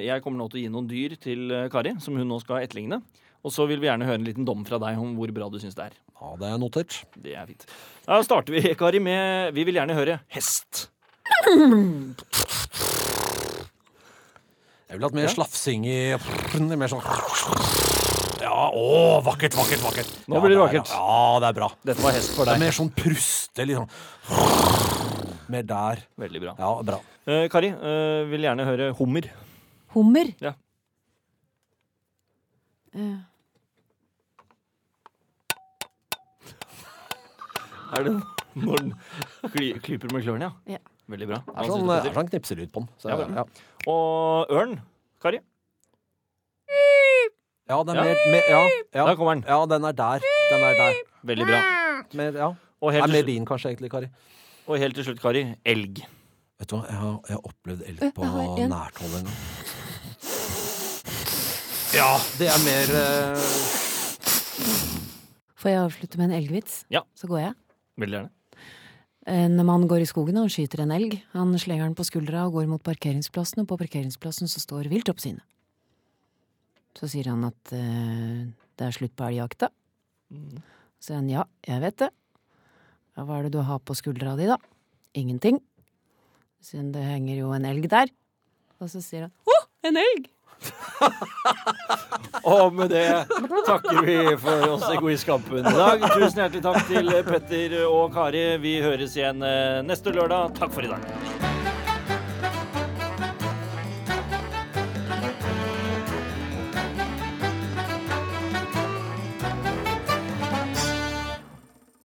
[SPEAKER 1] Jeg kommer nå til å gi noen dyr til eh, Kari, som hun nå skal etterligne. Og så vil vi gjerne høre en liten dom fra deg om hvor bra du syns det er.
[SPEAKER 3] Ja, det er notert.
[SPEAKER 1] Det er fint. Da starter vi, Kari, med Vi vil gjerne høre hest.
[SPEAKER 3] Jeg ville hatt mer slafsing i Mer sånn Ja, å, vakkert, vakkert, vakkert.
[SPEAKER 1] Nå blir det
[SPEAKER 3] ja,
[SPEAKER 1] vakkert.
[SPEAKER 3] er- Ja, det er bra.
[SPEAKER 1] Dette var hest for
[SPEAKER 3] Det er
[SPEAKER 1] deg.
[SPEAKER 3] mer sånn pruste, liksom. Mer der.
[SPEAKER 1] Veldig bra.
[SPEAKER 3] Ja, bra.
[SPEAKER 1] Eh, Kari, eh, vil gjerne høre hummer.
[SPEAKER 9] Hummer.
[SPEAKER 1] Ja.
[SPEAKER 9] Eh,
[SPEAKER 1] Er det når den kly, klyper med klørne, ja?
[SPEAKER 9] Ja.
[SPEAKER 1] Veldig bra.
[SPEAKER 3] Det er
[SPEAKER 1] Hva synes
[SPEAKER 3] sånn,
[SPEAKER 1] du,
[SPEAKER 3] det
[SPEAKER 1] Petter?
[SPEAKER 3] er sånn knipselyd på den. Så,
[SPEAKER 1] Ja,
[SPEAKER 3] ja,
[SPEAKER 1] bra.
[SPEAKER 3] ja.
[SPEAKER 1] Og ørn, Kari.
[SPEAKER 3] ja, den
[SPEAKER 1] Ja.
[SPEAKER 3] er mer, mer ja,
[SPEAKER 1] Der
[SPEAKER 3] ja.
[SPEAKER 1] kommer den.
[SPEAKER 3] ja, den er der. Den er der.
[SPEAKER 1] Veldig bra.
[SPEAKER 3] Mer, ja.
[SPEAKER 1] Og
[SPEAKER 3] Det er
[SPEAKER 1] helt,
[SPEAKER 3] mer
[SPEAKER 1] til,
[SPEAKER 3] din, kanskje, egentlig, Kari.
[SPEAKER 1] slutt- og helt til slutt, Kari, elg.
[SPEAKER 3] Vet du hva, jeg har, jeg har opplevd elg på
[SPEAKER 9] jeg har en.
[SPEAKER 3] nært hold en gang. Ja, det er mer eh,
[SPEAKER 2] Får jeg avslutte med en elgvits?
[SPEAKER 1] Ja.
[SPEAKER 2] Så går jeg.
[SPEAKER 1] Veldig gjerne.
[SPEAKER 2] En mann Eh, går i skogen og han skyter en elg. Han slenger den på skuldra og går mot parkeringsplassen, og på parkeringsplassen så står viltoppsynet. Så sier han at eh, det er slutt på elgjakta. Så sier han ja, jeg vet det. Ja, hva er det du har på skuldra di, da? Ingenting. Så sier han det henger jo en elg der. Og så sier han å, en elg!
[SPEAKER 1] Og med det takker vi for oss i Godiskampen i dag. Tusen hjertelig takk til Petter og Kari. Vi høres igjen eh, neste lørdag. Takk for i dag.